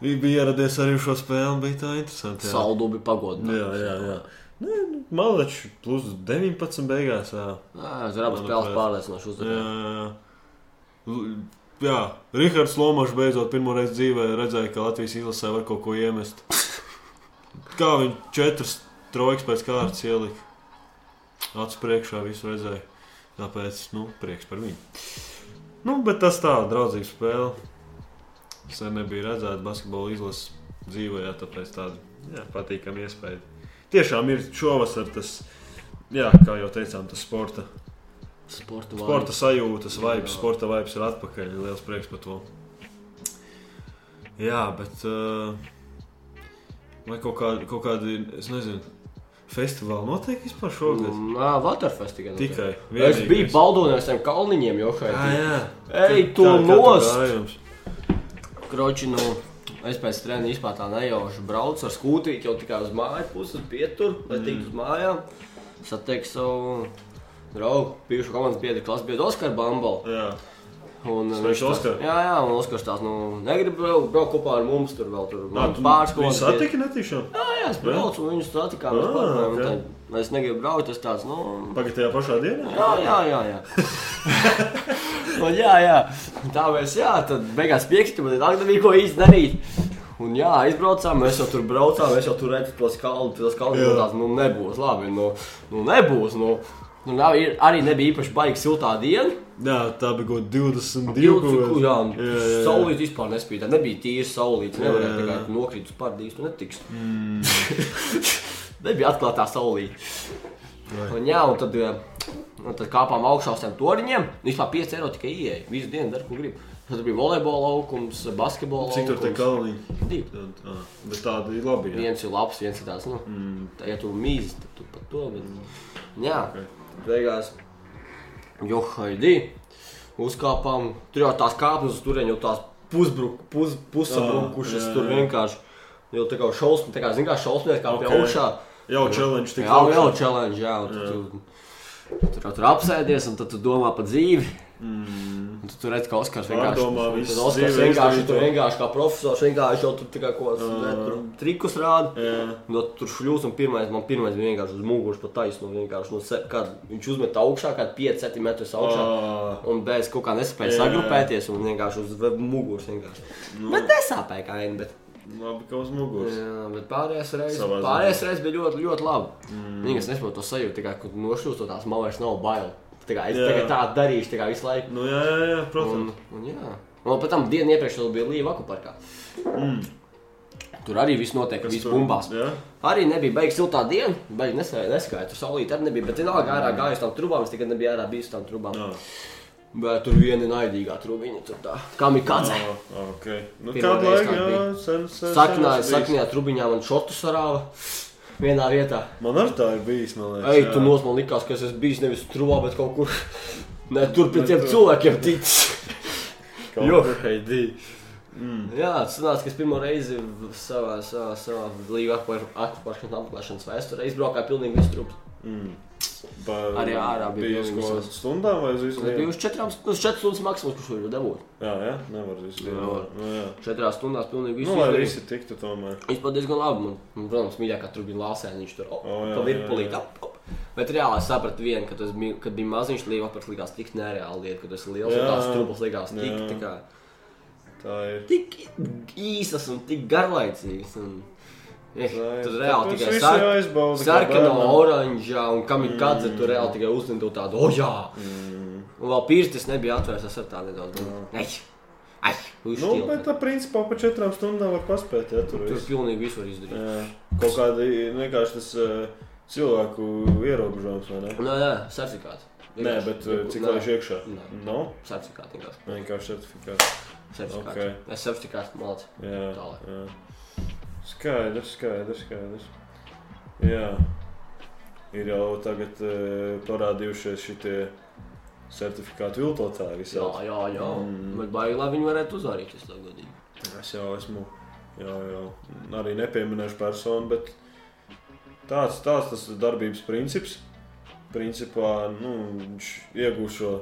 Speaker 2: i- bija ieradies arī uz šo spēli. un Bija tā interesanti. jā.
Speaker 1: Saldubi
Speaker 2: Jā,
Speaker 1: pagodinājums.
Speaker 2: jā, jā. Nē, nu, Malačs plus 19 beigās. Jā,
Speaker 1: jā. Uz abas spēles pārliecinoši
Speaker 2: jā,
Speaker 1: uzvarēja.
Speaker 2: jā. jā. L- jā. Rihards Lomačs beidzot pirmo reizi dzīvē redzēja, ka Latvijas izlasē var kaut ko iemest. Kā viņš četras trojķis pēc kārtas ielika? Acu priekšā visu redzēja. Tāpēc, nu, prieks par viņu. Nu, bet tas tā, draudzīga spēle. Sen nebija redzēta basketbola izlases dzīvē, jā, tāpēc tāda jā, patīkama iespēja. Tiešām ir šovasar tas, jā, kā jau teicām, tas sporta,
Speaker 1: Sporta
Speaker 2: sporta
Speaker 1: vārds.
Speaker 2: sajūtas, vibes,
Speaker 1: Jā.
Speaker 2: sporta vibes ir atpakaļ. Liels prieks par to. Jā, bet uh, vai kaut, kā, kaut kādi, es nezinu, festivāli notiek vispār
Speaker 1: Jā,
Speaker 2: šogad?
Speaker 1: Mm, Waterfest tikai. notiek.
Speaker 2: Tikai.
Speaker 1: Es biju
Speaker 2: vienīgais.
Speaker 1: baldonies ar kalniņiem, jo
Speaker 2: Jā,
Speaker 1: hei.
Speaker 2: jā.
Speaker 1: Ej,
Speaker 2: Kā-
Speaker 1: tu
Speaker 2: kā- kā tu
Speaker 1: nost!
Speaker 2: gājums?
Speaker 1: Kroči, nu, es pēc treniņa vispār tā nejauši braucu ar sūkūtīti jau tikai uz māju pusi, uz pieturu,
Speaker 2: Mm.
Speaker 1: lai tiktu uz mājām. Satieku savu draugu, bijušo komandas biedru, klases biedru Oskaru Bambalu.
Speaker 2: Jā.
Speaker 1: Un
Speaker 2: Sveiks,
Speaker 1: viņš tās,
Speaker 2: Oskar!
Speaker 1: jā, jā, un Oskars tās, nu, negrib vēl braukt kopā ar mums, tur vēl tur
Speaker 2: Nā, tu
Speaker 1: pāris
Speaker 2: Viņu satika netīšām.
Speaker 1: Jā, jā, es braucu, un viņus satikām, mēs
Speaker 2: Ah,
Speaker 1: pārklājām, un
Speaker 2: ok.
Speaker 1: tā, es negribu braukt, tas tāds, nu,
Speaker 2: Pagaidā tajā pašā dienā?
Speaker 1: jā, jā, jā, jā. *laughs* un jā, jā, tā mēs, jā, tad beigās piekstu, man tā nebija ko īsti darīt. Un jā, aizbraucām, mēs jau tur braucām, mēs jau tur redzam tos kalnus, tos kalnus,
Speaker 2: Jā.
Speaker 1: un tāds, nu, nebūs, labi, nu, nu nebūs, nu. Nu, nav, ir, arī nebija īpaši baigi siltā diena.
Speaker 2: Jā, tā bija kaut kāda 22 kaut
Speaker 1: Jā,
Speaker 2: kāda. Jā, jā, jā.
Speaker 1: saulīt vispār nespēja. Tā nebija tīra saulīte. Nevarēja
Speaker 2: Jā, Mm. jā,
Speaker 1: tikai
Speaker 2: jā.
Speaker 1: nokrīt uz pārdīs, tu netiks. *laughs* nebija atklātā saulīte.
Speaker 2: Vai.
Speaker 1: Un jā, un tad, jā, un tad kāpām augšā uz tiem toriņiem. Vispār 5 eiro tikai ieeja. Visu dienu dar, ko grib. Tad bija volejbola laukums, basketbola
Speaker 2: Cik tur
Speaker 1: laukums.
Speaker 2: tā kalniņa?
Speaker 1: Divi.
Speaker 2: Tad, ā, Bet tāda ir labi. jā.
Speaker 1: Viens ir labs, viens ir tāds, nu, mm. tā, ja tu mīzi, tad tu pat to. Bet... Jā,
Speaker 2: Mm. Ok.
Speaker 1: beigās. Jo, haidī, uzkāpām, tur jau tās kāpnes, tur jau tās pusbruk- pus- pusabrukušas,
Speaker 2: Ah, Jā, jā,
Speaker 1: tur
Speaker 2: jā.
Speaker 1: vienkārši. Jau tā kā šausmas, tā kā zina, kā šausmas, kā
Speaker 2: Ok.
Speaker 1: okay. augšā.
Speaker 2: Jau challenge tik
Speaker 1: Jā,
Speaker 2: augšā.
Speaker 1: jau challenge, jā, un tu, tu, tur jau tur apsēdies, un tad tu domā par dzīvi. Mm. Tu, tu redz, ka Oskars vienkārši
Speaker 2: Pārdomā visu
Speaker 1: Tad Oskars
Speaker 2: dzīvi,
Speaker 1: vienkārši,
Speaker 2: izdarīt
Speaker 1: tur
Speaker 2: to.
Speaker 1: vienkārši kā profesors, vienkārši jau tur tikai kaut kādus mm. trikus rāda.
Speaker 2: Jā.
Speaker 1: No, tur šļūs, un pirmais, man pirmais bija vienkārši uz muguras, pat taisno. vienkārši, No, se- kad viņš uzmet augšā, kad 5 cm augšā.
Speaker 2: Ā,
Speaker 1: Un bez kaut kā nespēja
Speaker 2: Jā.
Speaker 1: sagrupēties, un vienkārši uz ve- muguras vienkārši. Nu. Bet nesāpēja kā vien, bet
Speaker 2: Labi, ka uz muguras.
Speaker 1: Jā, bet pārējais reizes
Speaker 2: Savā ziņā.
Speaker 1: pārējais reiz bija ļoti, ļoti labi. Mm. Viņa nesaprot to sajūtu, tā kā, kad nošūst to tās man vairs nav bail. Tā kā, es
Speaker 2: Jā.
Speaker 1: tagad tā darīšu tā kā, visu laiku.
Speaker 2: Nu, jā, jā, jā
Speaker 1: Un,
Speaker 2: protams.
Speaker 1: un, jā. un pēc tam dienu iepriekš vēl bija Līva Akuparkā. Mm. Tur arī viss notiek, viss
Speaker 2: tur-
Speaker 1: bumbās.
Speaker 2: jā?
Speaker 1: Arī nebija beigas siltā diena, beigas neskaidra. Tur saulīt arī nebija, bet vienalga ārā gāja uz tām trubām, es tikai nebija ārā bijis uz tām trubām.
Speaker 2: Mm. Jā.
Speaker 1: Bet tur viena naidīgā trubiņa, tur tā, kam ir kāds.
Speaker 2: Ā, Okay. Nu,
Speaker 1: Pirmā
Speaker 2: kādu
Speaker 1: reize
Speaker 2: laiku,
Speaker 1: tā
Speaker 2: jā,
Speaker 1: bija.
Speaker 2: sen, sen,
Speaker 1: Saknā,
Speaker 2: sen es biju.
Speaker 1: saknā trubiņā man šotu sarāva vienā vietā.
Speaker 2: Man arī tā ir bijis, man liekas.
Speaker 1: Ei,
Speaker 2: jā.
Speaker 1: tu nos man likās, ka es esmu bijis nevis trūkā, bet kaut kur. *laughs* Nē, tur pie
Speaker 2: Bet
Speaker 1: tiem
Speaker 2: tu-
Speaker 1: cilvēkiem ticis.
Speaker 2: Kaut
Speaker 1: Jo,
Speaker 2: kur.
Speaker 1: heidi.
Speaker 2: Mm.
Speaker 1: *laughs* Jā, tas nāca, ka es pirmo reizi v- savā, savā, savā līga akvaparkšanas apmeklēšanas vēsturē izbraukāju pilnīgi visu trūku.
Speaker 2: Ba-
Speaker 1: Arī ārā bija
Speaker 2: Bija uz
Speaker 1: pilnīgi
Speaker 2: ko
Speaker 1: visās.
Speaker 2: stundām vai uz visu
Speaker 1: Tas bija
Speaker 2: dienu?
Speaker 1: uz 4 stundas maksimums, kurš var dabūt.
Speaker 2: Jā, jā, nevar uz visu dienu.
Speaker 1: Nevar.
Speaker 2: Nu, jā.
Speaker 1: 4 stundās pilnīgi visu.
Speaker 2: Nu, lai
Speaker 1: izdarīju.
Speaker 2: visi tiktu tomēr.
Speaker 1: Vispār diezgan labi. Man, man, protams, mīļākā tur bija lāsēniņš, tur op,
Speaker 2: O, jā,
Speaker 1: pa
Speaker 2: jā, jā.
Speaker 1: virpulīt. Op, op. Bet reāli es sapratu, vienu, ka tas bija, kad bija maziņš, līnijas apgabals likās tik nereāli lieta, ka tas ir liels,
Speaker 2: Jā.
Speaker 1: un tās strūklas likās tik,
Speaker 2: Jā.
Speaker 1: tā kā,
Speaker 2: Tā ir.
Speaker 1: tik īsas un tik garlaicīgas. Un... Eh,
Speaker 2: Tā ir.
Speaker 1: Tur reāli
Speaker 2: Tāpēc
Speaker 1: tikai
Speaker 2: visi
Speaker 1: sar...
Speaker 2: jāizbauda, kā
Speaker 1: sarkanā,
Speaker 2: bērnam.
Speaker 1: oranžā un kam ir kāds, mm. tur reāli tikai uzlido tādu, oh, jā! Mm. Un vēl pīrstis nebija atvērts, es ar tādu nedaudz. nu, Ai, ai,
Speaker 2: Nu, bet
Speaker 1: uzšķilt.
Speaker 2: tā principā pa četrām stundām var paspēt, ja tur
Speaker 1: Tur
Speaker 2: viss.
Speaker 1: pilnīgi visu var izdarīt.
Speaker 2: Jā. Kaut kāda vienkārši tas eh, cilvēku ierobežojums, vai ne?
Speaker 1: Nē, nē, Nu, certifikāts.
Speaker 2: Nē, bet eh, cik
Speaker 1: Nē.
Speaker 2: lai iekšā?
Speaker 1: Nē.
Speaker 2: Nav?
Speaker 1: Certifikāti vienkārši.
Speaker 2: Vienkārši certifikāts.
Speaker 1: Certifikāti.
Speaker 2: Okay.
Speaker 1: Okay. Es certifikāti mācu.
Speaker 2: Jā,
Speaker 1: Tālāk.
Speaker 2: jā. Skaidrs, skaidrs, skaidrs. Jā. ir jau tagad eh, parādījušies šie certifikāti viltotāji.
Speaker 1: Jā,
Speaker 2: visādi.
Speaker 1: jā, jā.
Speaker 2: Mm.
Speaker 1: Mm. Bet baigi, lai viņi varētu uzvarēt, es tagad godīgi.
Speaker 2: Es jau esmu, jau, jau arī nepieminēšu personu, bet tāds, tāds tas ir darbības princips. Principā nu, viņš iegūst šo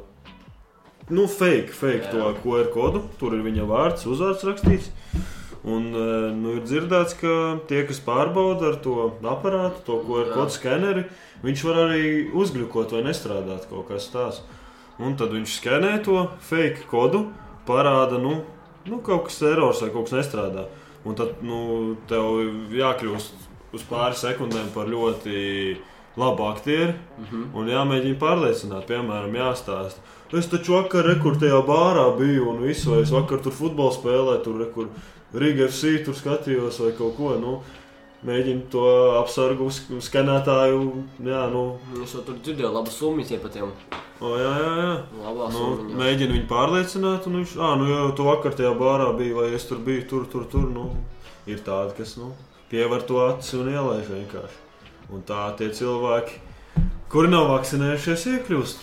Speaker 2: nu, fake, fake
Speaker 1: Jā.
Speaker 2: to QR kodu. Tur ir viņa vārds, uzvārds rakstīts. Un eh, nu, ir dzirdēts, ka tie, kas pārbauda ar to aparātu, to QR
Speaker 1: Jā.
Speaker 2: kodu skeneri, viņš var arī uzglukot vai nestrādāt kaut kas tāds. Un tad viņš skenē to fake kodu, parāda, nu, nu kaut kas erors vai kaut kas nestrādā. Un tad nu, tev jākļūst uz pāris sekundēm par ļoti labu aktieru
Speaker 1: Mhm.
Speaker 2: un jāmēģina pārliecināt, piemēram, jāstāsta. Es taču vakar rekurtajā bārā biju un visu, vai es vakar tur futbolu spēlēju, tur rekur Riga FC tur skatījos vai kaut ko. Nu, Mēģinu to apsargu sk- skanētāju. Jā, nu,
Speaker 1: Nu, Es jau tur dzirdēju, labu summu viņiem pat jau.
Speaker 2: o, jā, jā, jā.
Speaker 1: Labā
Speaker 2: Nu,
Speaker 1: summa.
Speaker 2: mēģinu viņu pārliecināt, un viņš, ah, nu, jau tu vakar tajā bārā biji, vai es tur biju, tur, tur, tur. Nu, ir tādi, kas nu, pievar to acis un ielaiž vienkārši. Un tā tie cilvēki, kuri nav vakcinējušies, iekļūst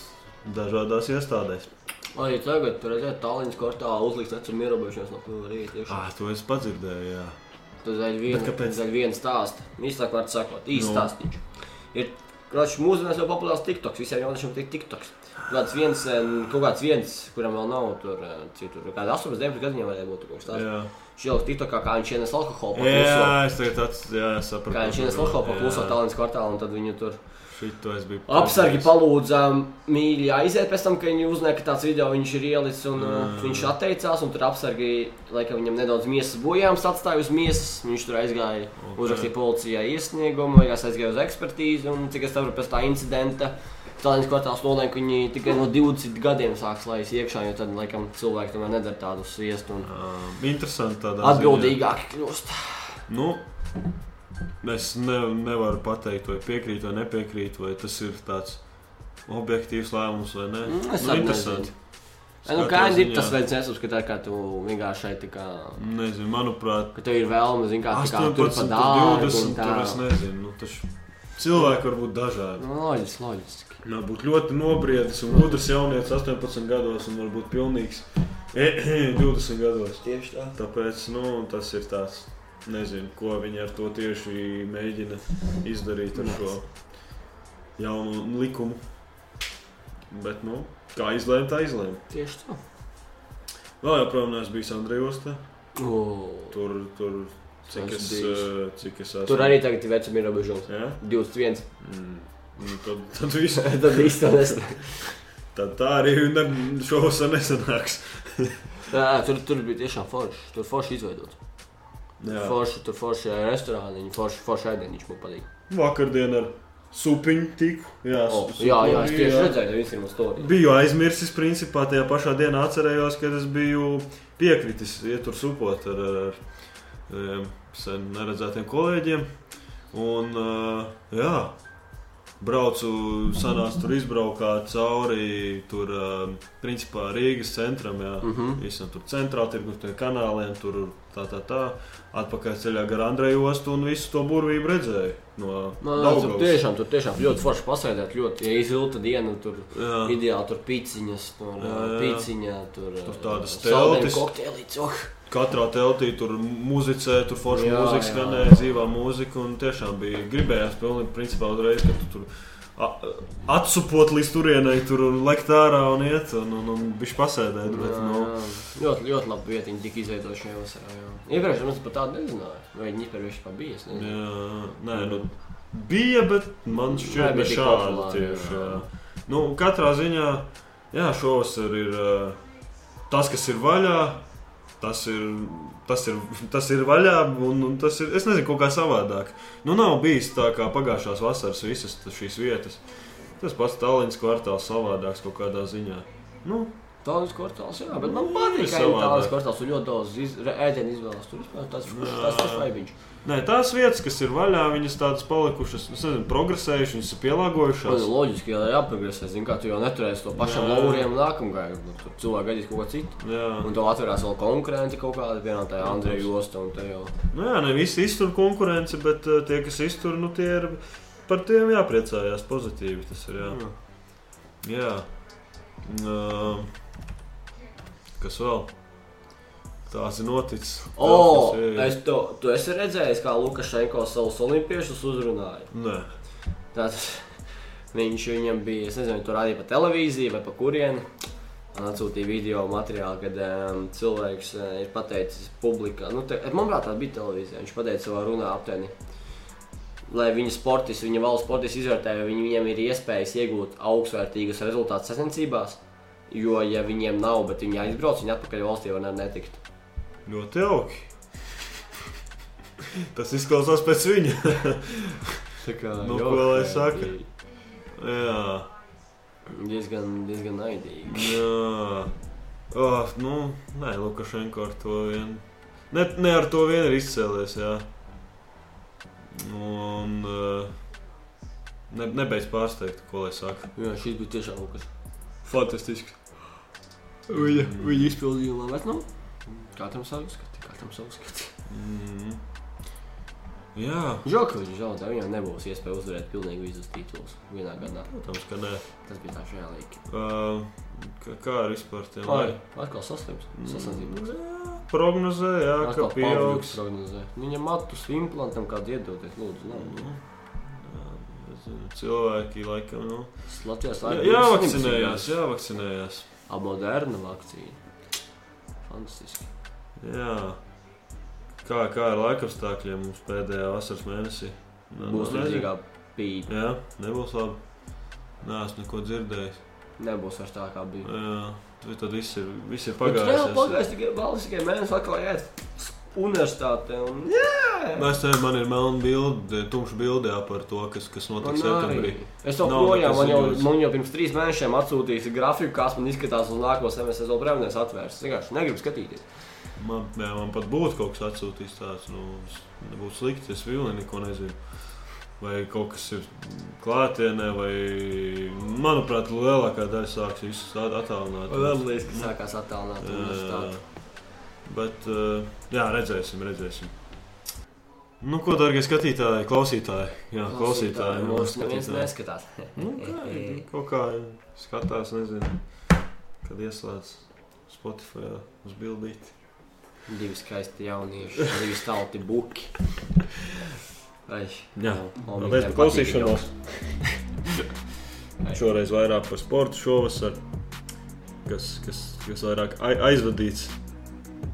Speaker 2: dažādās iestādēs.
Speaker 1: Arī tagad, tur redzēt, Tallinas kortā uzliks vecuma ierobežošanas no kura rīta. iekšā.
Speaker 2: Ah, to es padzirdēju, jā.
Speaker 1: Tas ir
Speaker 2: Bet kāpēc?
Speaker 1: viens, viens stāsts. Īstāk var sakot, īsts
Speaker 2: Nu.
Speaker 1: stāstīts. Ir Kročs mūsdienās jau populārs TikToks, visiem jauniešiem tiek TikToks. Kāds viens, em, kaut kāds viens, kuram vēl nav tur em, citur, kāda 18, 19 gadu viņam varēja būt kaut kas tāds.
Speaker 2: Jā,
Speaker 1: Šī jau TikTokā, kā viņš ienes alkoholu pakluso.
Speaker 2: jā es tagad tāds, jā, es sapratu.
Speaker 1: Kā viņš ienes alkoholu pakluso Tallinas kvartālā un tad viņu tur
Speaker 2: Šito es biju.
Speaker 1: Apsargi palūdzām, mīļi, aiziet pēc tam, kad viņi uzzināja, ka tāds video viņš ir ielicis un mm. viņš atteicās. un Tur apsargi, laikam, viņam nedaudz miesas bojājums atstāja uz miesas. Viņš tur aizgāja, okay. uzrakstīja policijai iesniegumu, beigās aizgāja uz ekspertīzi. Un cik es saprotu, pēc tā incidenta Tallinas kvartāls nolēma, ka viņi tikai no 20 gadiem sāks laist iekšā, jo tad, laikam, cilvēki tomēr nedara tādu sviestu un
Speaker 2: Uh, interesanti tādā
Speaker 1: atbildīgāki kļūst.
Speaker 2: Nu, es ne, nevaru pateikt, vai piekrītu vai nepiekrītu, vai tas ir tāds objektīvs lēmums vai nē.
Speaker 1: Mm, es
Speaker 2: nu,
Speaker 1: arī
Speaker 2: interesanti.
Speaker 1: Nē, Nu,
Speaker 2: Katrā
Speaker 1: kā ir
Speaker 2: ziņā-
Speaker 1: tas veids, nesaskatāt, kā tu vienkārši šeit tā kā.
Speaker 2: Nezinu, manuprāt,
Speaker 1: ka tev ir vēlme, zin, kā, tā kā
Speaker 2: 18,
Speaker 1: tur pat dārgi.
Speaker 2: 20. Tur es nezinu. Nu, taču cilvēki var būt dažādi.
Speaker 1: Loģiski, loģiski.
Speaker 2: Nā, būt Nu, ļoti nobriedis un gudrs jaunietis 18 gados un varbūt pilnīgs *clears throat* 20 gados.
Speaker 1: Tieši tā.
Speaker 2: Tāpēc nu, tas ir tāds, nezinu, ko viņi ar to tieši mēģina izdarīt ar šo jaunu likumu. Bet, nu, kā izlēma, tā izlēma.
Speaker 1: Tieši tā.
Speaker 2: Vēl joprojām neesmu bijis Andrejos.
Speaker 1: O,
Speaker 2: Tur, tur, cik
Speaker 1: Esmu
Speaker 2: es,
Speaker 1: bijis.
Speaker 2: eh, cik es esmu.
Speaker 1: tur arī tagad ir vecuma ierobežojums.
Speaker 2: Ja?
Speaker 1: 21.
Speaker 2: Mm. Nu, tad, tad viss.
Speaker 1: *laughs* Tad īstenībā
Speaker 2: Tad tā arī ne, šovasar nesanāks.
Speaker 1: tur, tur bija tiešām forši. Tur forši izveidots.
Speaker 2: Jā.
Speaker 1: Forši, tur forši restorāni, forši, forši ēdieniņš man patīk.
Speaker 2: Vakardien ar supiņu tiku. Jā,
Speaker 1: O,
Speaker 2: su-
Speaker 1: Oh. jā, jā, es
Speaker 2: supurī,
Speaker 1: tieši redzēju, ka Instagram stāstā.
Speaker 2: Biju aizmirsis, principā tajā pašā dienā atcerējos, ka es biju piekritis, ja tur supot ar, ar, ar em, sen neredzētiem kolēģiem. Un, eh, jā, braucu, sanāca tur izbraukāt cauri, tur, em, principā, Rīgas centram, jā.
Speaker 1: Mhm.
Speaker 2: Visam tur centrā, tirgus tiem kanāliem, tur tā, tā, tā. Atpakaļ ceļā gar Andreju ostu un visu to burvību redzēju no
Speaker 1: Man liekas, tur
Speaker 2: Daugavas.
Speaker 1: tiešām, tur tiešām ļoti forši pasēdēt. Ļoti ja izilta diena, tur
Speaker 2: Jā.
Speaker 1: ideāli tur pīciņas, tur
Speaker 2: Jā, jā.
Speaker 1: pīciņa, tur,
Speaker 2: Tur tādas teltis.
Speaker 1: kokteilītes. Oh.
Speaker 2: Katrā teltī tur muzicē, tur forša
Speaker 1: Jā,
Speaker 2: mūzika
Speaker 1: jā.
Speaker 2: skanēja, dzīvā mūzika. Un tiešām bija gribējās pilnīgi, principā, uzreiz, ka tu tur a- atsupot līdz turienei, tur un lekt ārā un iet, un, un, un bišķi pasēdēt. Bet,
Speaker 1: Jā,
Speaker 2: nu,
Speaker 1: jā. Ļoti, ļoti labi vietiņa tika izveidota šajā vasarā. jā. Iepriekš mums par tādu nezināja. Vai viņi vispār bija pabijusi?
Speaker 2: jā, jā. nē, nu, bija, bet man šķiet,
Speaker 1: Nebija
Speaker 2: ka
Speaker 1: tik
Speaker 2: šādi
Speaker 1: populāri,
Speaker 2: tieši.
Speaker 1: jā.
Speaker 2: Jā. Nu, katrā ziņā, jā, šovasar ir ā, tas, kas ir vaļā. Tas ir, tas, ir, tas ir vaļā, un, un tas ir. Es nezinu, kaut kā savādāk. Nu, nav bijis tā kā pagājušās vasaras visas t- šīs vietas. Tas pats Tallinas kvartāls savādāks kaut kādā ziņā. Nu,
Speaker 1: Tādas kvartāls, jā, bet man
Speaker 2: Nu, ir
Speaker 1: patīk, ka
Speaker 2: savādāk.
Speaker 1: tādas kvartāls un ļoti daudz iz- re- ēdienu izvēlas. Tur vispār tas
Speaker 2: Jā.
Speaker 1: tas tas vaibiņš.
Speaker 2: nē, tās vietas, kas ir vaļā, viņas tādas palikušas, es nezinu, progresējušas, viņas
Speaker 1: Man
Speaker 2: ir
Speaker 1: ir
Speaker 2: pielāgojušās.
Speaker 1: loģiski, ka jāpagriezās, zin kā tu jau neturēsi to pašam
Speaker 2: Jā.
Speaker 1: lauriem nākamgājā. Nu, Tur cilvēki gaidīs kaut ko citu.
Speaker 2: Jā,
Speaker 1: Un tev atverās vēl konkurenti kaut kādi, piemēram, tajā Andreja Josta un tajā.
Speaker 2: nu, jā ne visi iztur konkurenci, bet eh, tie, kas iztur, nu, tie ir par tiem jāpriecājās pozitīvi. Tas ir jā.
Speaker 1: Mm.
Speaker 2: jā. Uh, kas vēl? Tās ir noticis.
Speaker 1: O,
Speaker 2: Tās, kas ir-
Speaker 1: es to, tu esi redzējis, kā Lukašenko savus olimpiešus uzrunāja.
Speaker 2: Nē,
Speaker 1: Tātad viņš viņam bija, es nezinu, tur rādīja pa televīziju vai pa kurieni. Man atsūtīja video materiālu, kad um, cilvēks uh, ir pateicis publikā, nu, te, manuprāt, tā bija televīzija. Viņš pateica savā runā aptuveni, lai viņa sportis, viņa valsts sportis izvērtē, vai viņi, viņam ir iespējas iegūt augstvērtīgus rezultātus sacensībās. Jo, ja viņiem nav, bet viņi aizbrauc, viņi atpakaļ valstī var ne- netikt.
Speaker 2: ļoti jauki. Tas izklausās pēc viņa.
Speaker 1: Tā kā,
Speaker 2: Nu, ko lai saka? jā.
Speaker 1: Diezgan, diezgan naidīgi.
Speaker 2: Jā, oh, nu, nē, Lukašenko ar to vien. Ne, ne ar to vien ir izcēlies, jā. Un. eh, Ne, nebeidz pārsteigt, ko lai saka.
Speaker 1: Jā, šis bija tiešām kaut kas
Speaker 2: Fantastisks.
Speaker 1: Viņa,
Speaker 2: Mm.
Speaker 1: viņa izpildīja labi. Nu, katram savu skatu, katram savu skatu.
Speaker 2: Mm. Jā,
Speaker 1: Žēl, ka viņš zaudēja. Viņam nebūs iespēja uzvarēt pilnīgi visus titulus vienā gadā.
Speaker 2: protams, ka nē.
Speaker 1: Tas bija tā žēlīgi.
Speaker 2: Uh, kā, kā ar vispār tiem?
Speaker 1: Ai, atkal saslims.
Speaker 2: Mm,
Speaker 1: Saslims.
Speaker 2: jā, Prognozē, jā, ka
Speaker 1: Atkal pavlūks
Speaker 2: pieaugs.
Speaker 1: prognozē. Viņam matus implantam kādu iedoties, lūdzu.
Speaker 2: Nu,
Speaker 1: Nav.
Speaker 2: jā, nezinu, Cilvēki laikam, nu.
Speaker 1: Latvijā
Speaker 2: Jā,
Speaker 1: slēdz.
Speaker 2: jāvakcinējās, jāvakcinējās.
Speaker 1: A moderna vakcīna. Fantastiski.
Speaker 2: Jā. Kā, kā ar laikapstākļiem mums pēdējā vasaras mēnesī? Nē,
Speaker 1: Būs
Speaker 2: nu, nezinu.
Speaker 1: līdzīgā pīpa.
Speaker 2: Jā, nebūs labi. Nē, es neko dzirdēju.
Speaker 1: Nebūs vairs tā kā bija.
Speaker 2: Jā, tur tad viss ir, viss ir
Speaker 1: Pagājās,
Speaker 2: pagājis.
Speaker 1: pagājās tikai valsts, tikai mēnesis atkal jāiet universitāte un jā!
Speaker 2: Mēs te man ir melna bilde, tumša bilde jā, par to, kas, kas
Speaker 1: Man arī.
Speaker 2: notiks septembrī.
Speaker 1: Es jau
Speaker 2: Nav
Speaker 1: projām,
Speaker 2: nekas
Speaker 1: man jau,
Speaker 2: ziņojums.
Speaker 1: man jau pirms trīs mēnešiem atsūtīja grafiku, kas man izskatās uz nākamo semestri. Es vēl brīvdienās atvērsu. Es vienkārši negribu skatīties.
Speaker 2: Man, jā, man pat būtu kaut kas atsūtīts tāds, nu, s- nebūtu slikti, es vilni neko nezinu. Vai kaut kas ir klātienē, vai, manuprāt, lielākā daļa sāks visus attālināt.
Speaker 1: Lieliski, ka sākās attālināt universitāti.
Speaker 2: Bet, eh, jā, redzēsim, redzēsim. Nu, ko, darbie skatītāji, klausītāji? Jā, klausītāji,
Speaker 1: Mums neviens
Speaker 2: skatītāji.
Speaker 1: neskatās.
Speaker 2: Nu, kā ir, kaut kā skatās, nezinu, kad ieslēdz Spotify uz bildīti.
Speaker 1: Divi skaisti jaunieši, divi stalti
Speaker 2: *laughs*
Speaker 1: buki. Ai,
Speaker 2: Jā.
Speaker 1: man
Speaker 2: Paldies par klausīšanos.
Speaker 1: Ai.
Speaker 2: Šoreiz vairāk par sportu šovasar, kas, kas, kas vairāk ai- aizvadīts,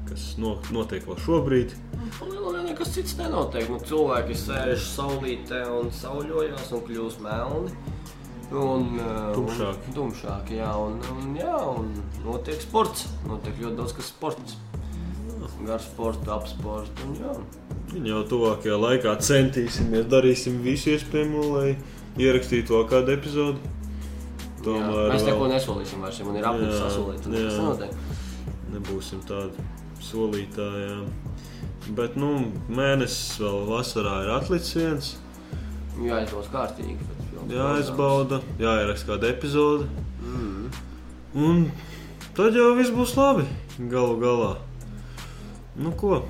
Speaker 2: kas no, notiek vēl šobrīd.
Speaker 1: Lielā Nu, nekas cits nenotiek. Nu, cilvēki sēž saulītē un sauļojās un kļūst melni. Un, eh,
Speaker 2: Tumšāki.
Speaker 1: Un, tumšāki, jā, un, un, jā, un notiek sports. Notiek ļoti daudz kas sports. Gar sporta, ap sporta. un jā.
Speaker 2: Viņa jau tuvākajā laikā centīsimies, darīsim visu iespējamo, lai ierakstītu vēl kādu epizodi.
Speaker 1: Jā,
Speaker 2: Tomēr
Speaker 1: Mēs neko
Speaker 2: vēl
Speaker 1: nesolīsim vairs, ja man ir apnicis
Speaker 2: Jā,
Speaker 1: sasolīt.
Speaker 2: jā.
Speaker 1: Tas notiek.
Speaker 2: nebūsim tādi solītāji. jā. Bet nu, mēnesis vēl vasarā ir atlicis viens.
Speaker 1: Nu, Jā, izbaudās kārtīgi. bet jau-
Speaker 2: Jāizbauda, jāieraksta kāda epizode.
Speaker 1: Mm.
Speaker 2: Un tad jau viss būs labi. Galu galā. Nu, ko?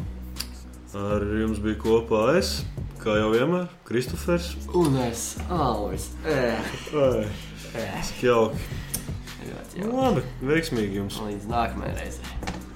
Speaker 2: Ar jums bija kopā es, kā jau vienmēr, Kristofers.
Speaker 1: Un es alvis. Eh,
Speaker 2: Ai,
Speaker 1: eh.
Speaker 2: Cik jauki.
Speaker 1: Ļoti
Speaker 2: Nu,
Speaker 1: jauki.
Speaker 2: Labi, veiksmīgi jums.
Speaker 1: Līdz nākamajai reizei.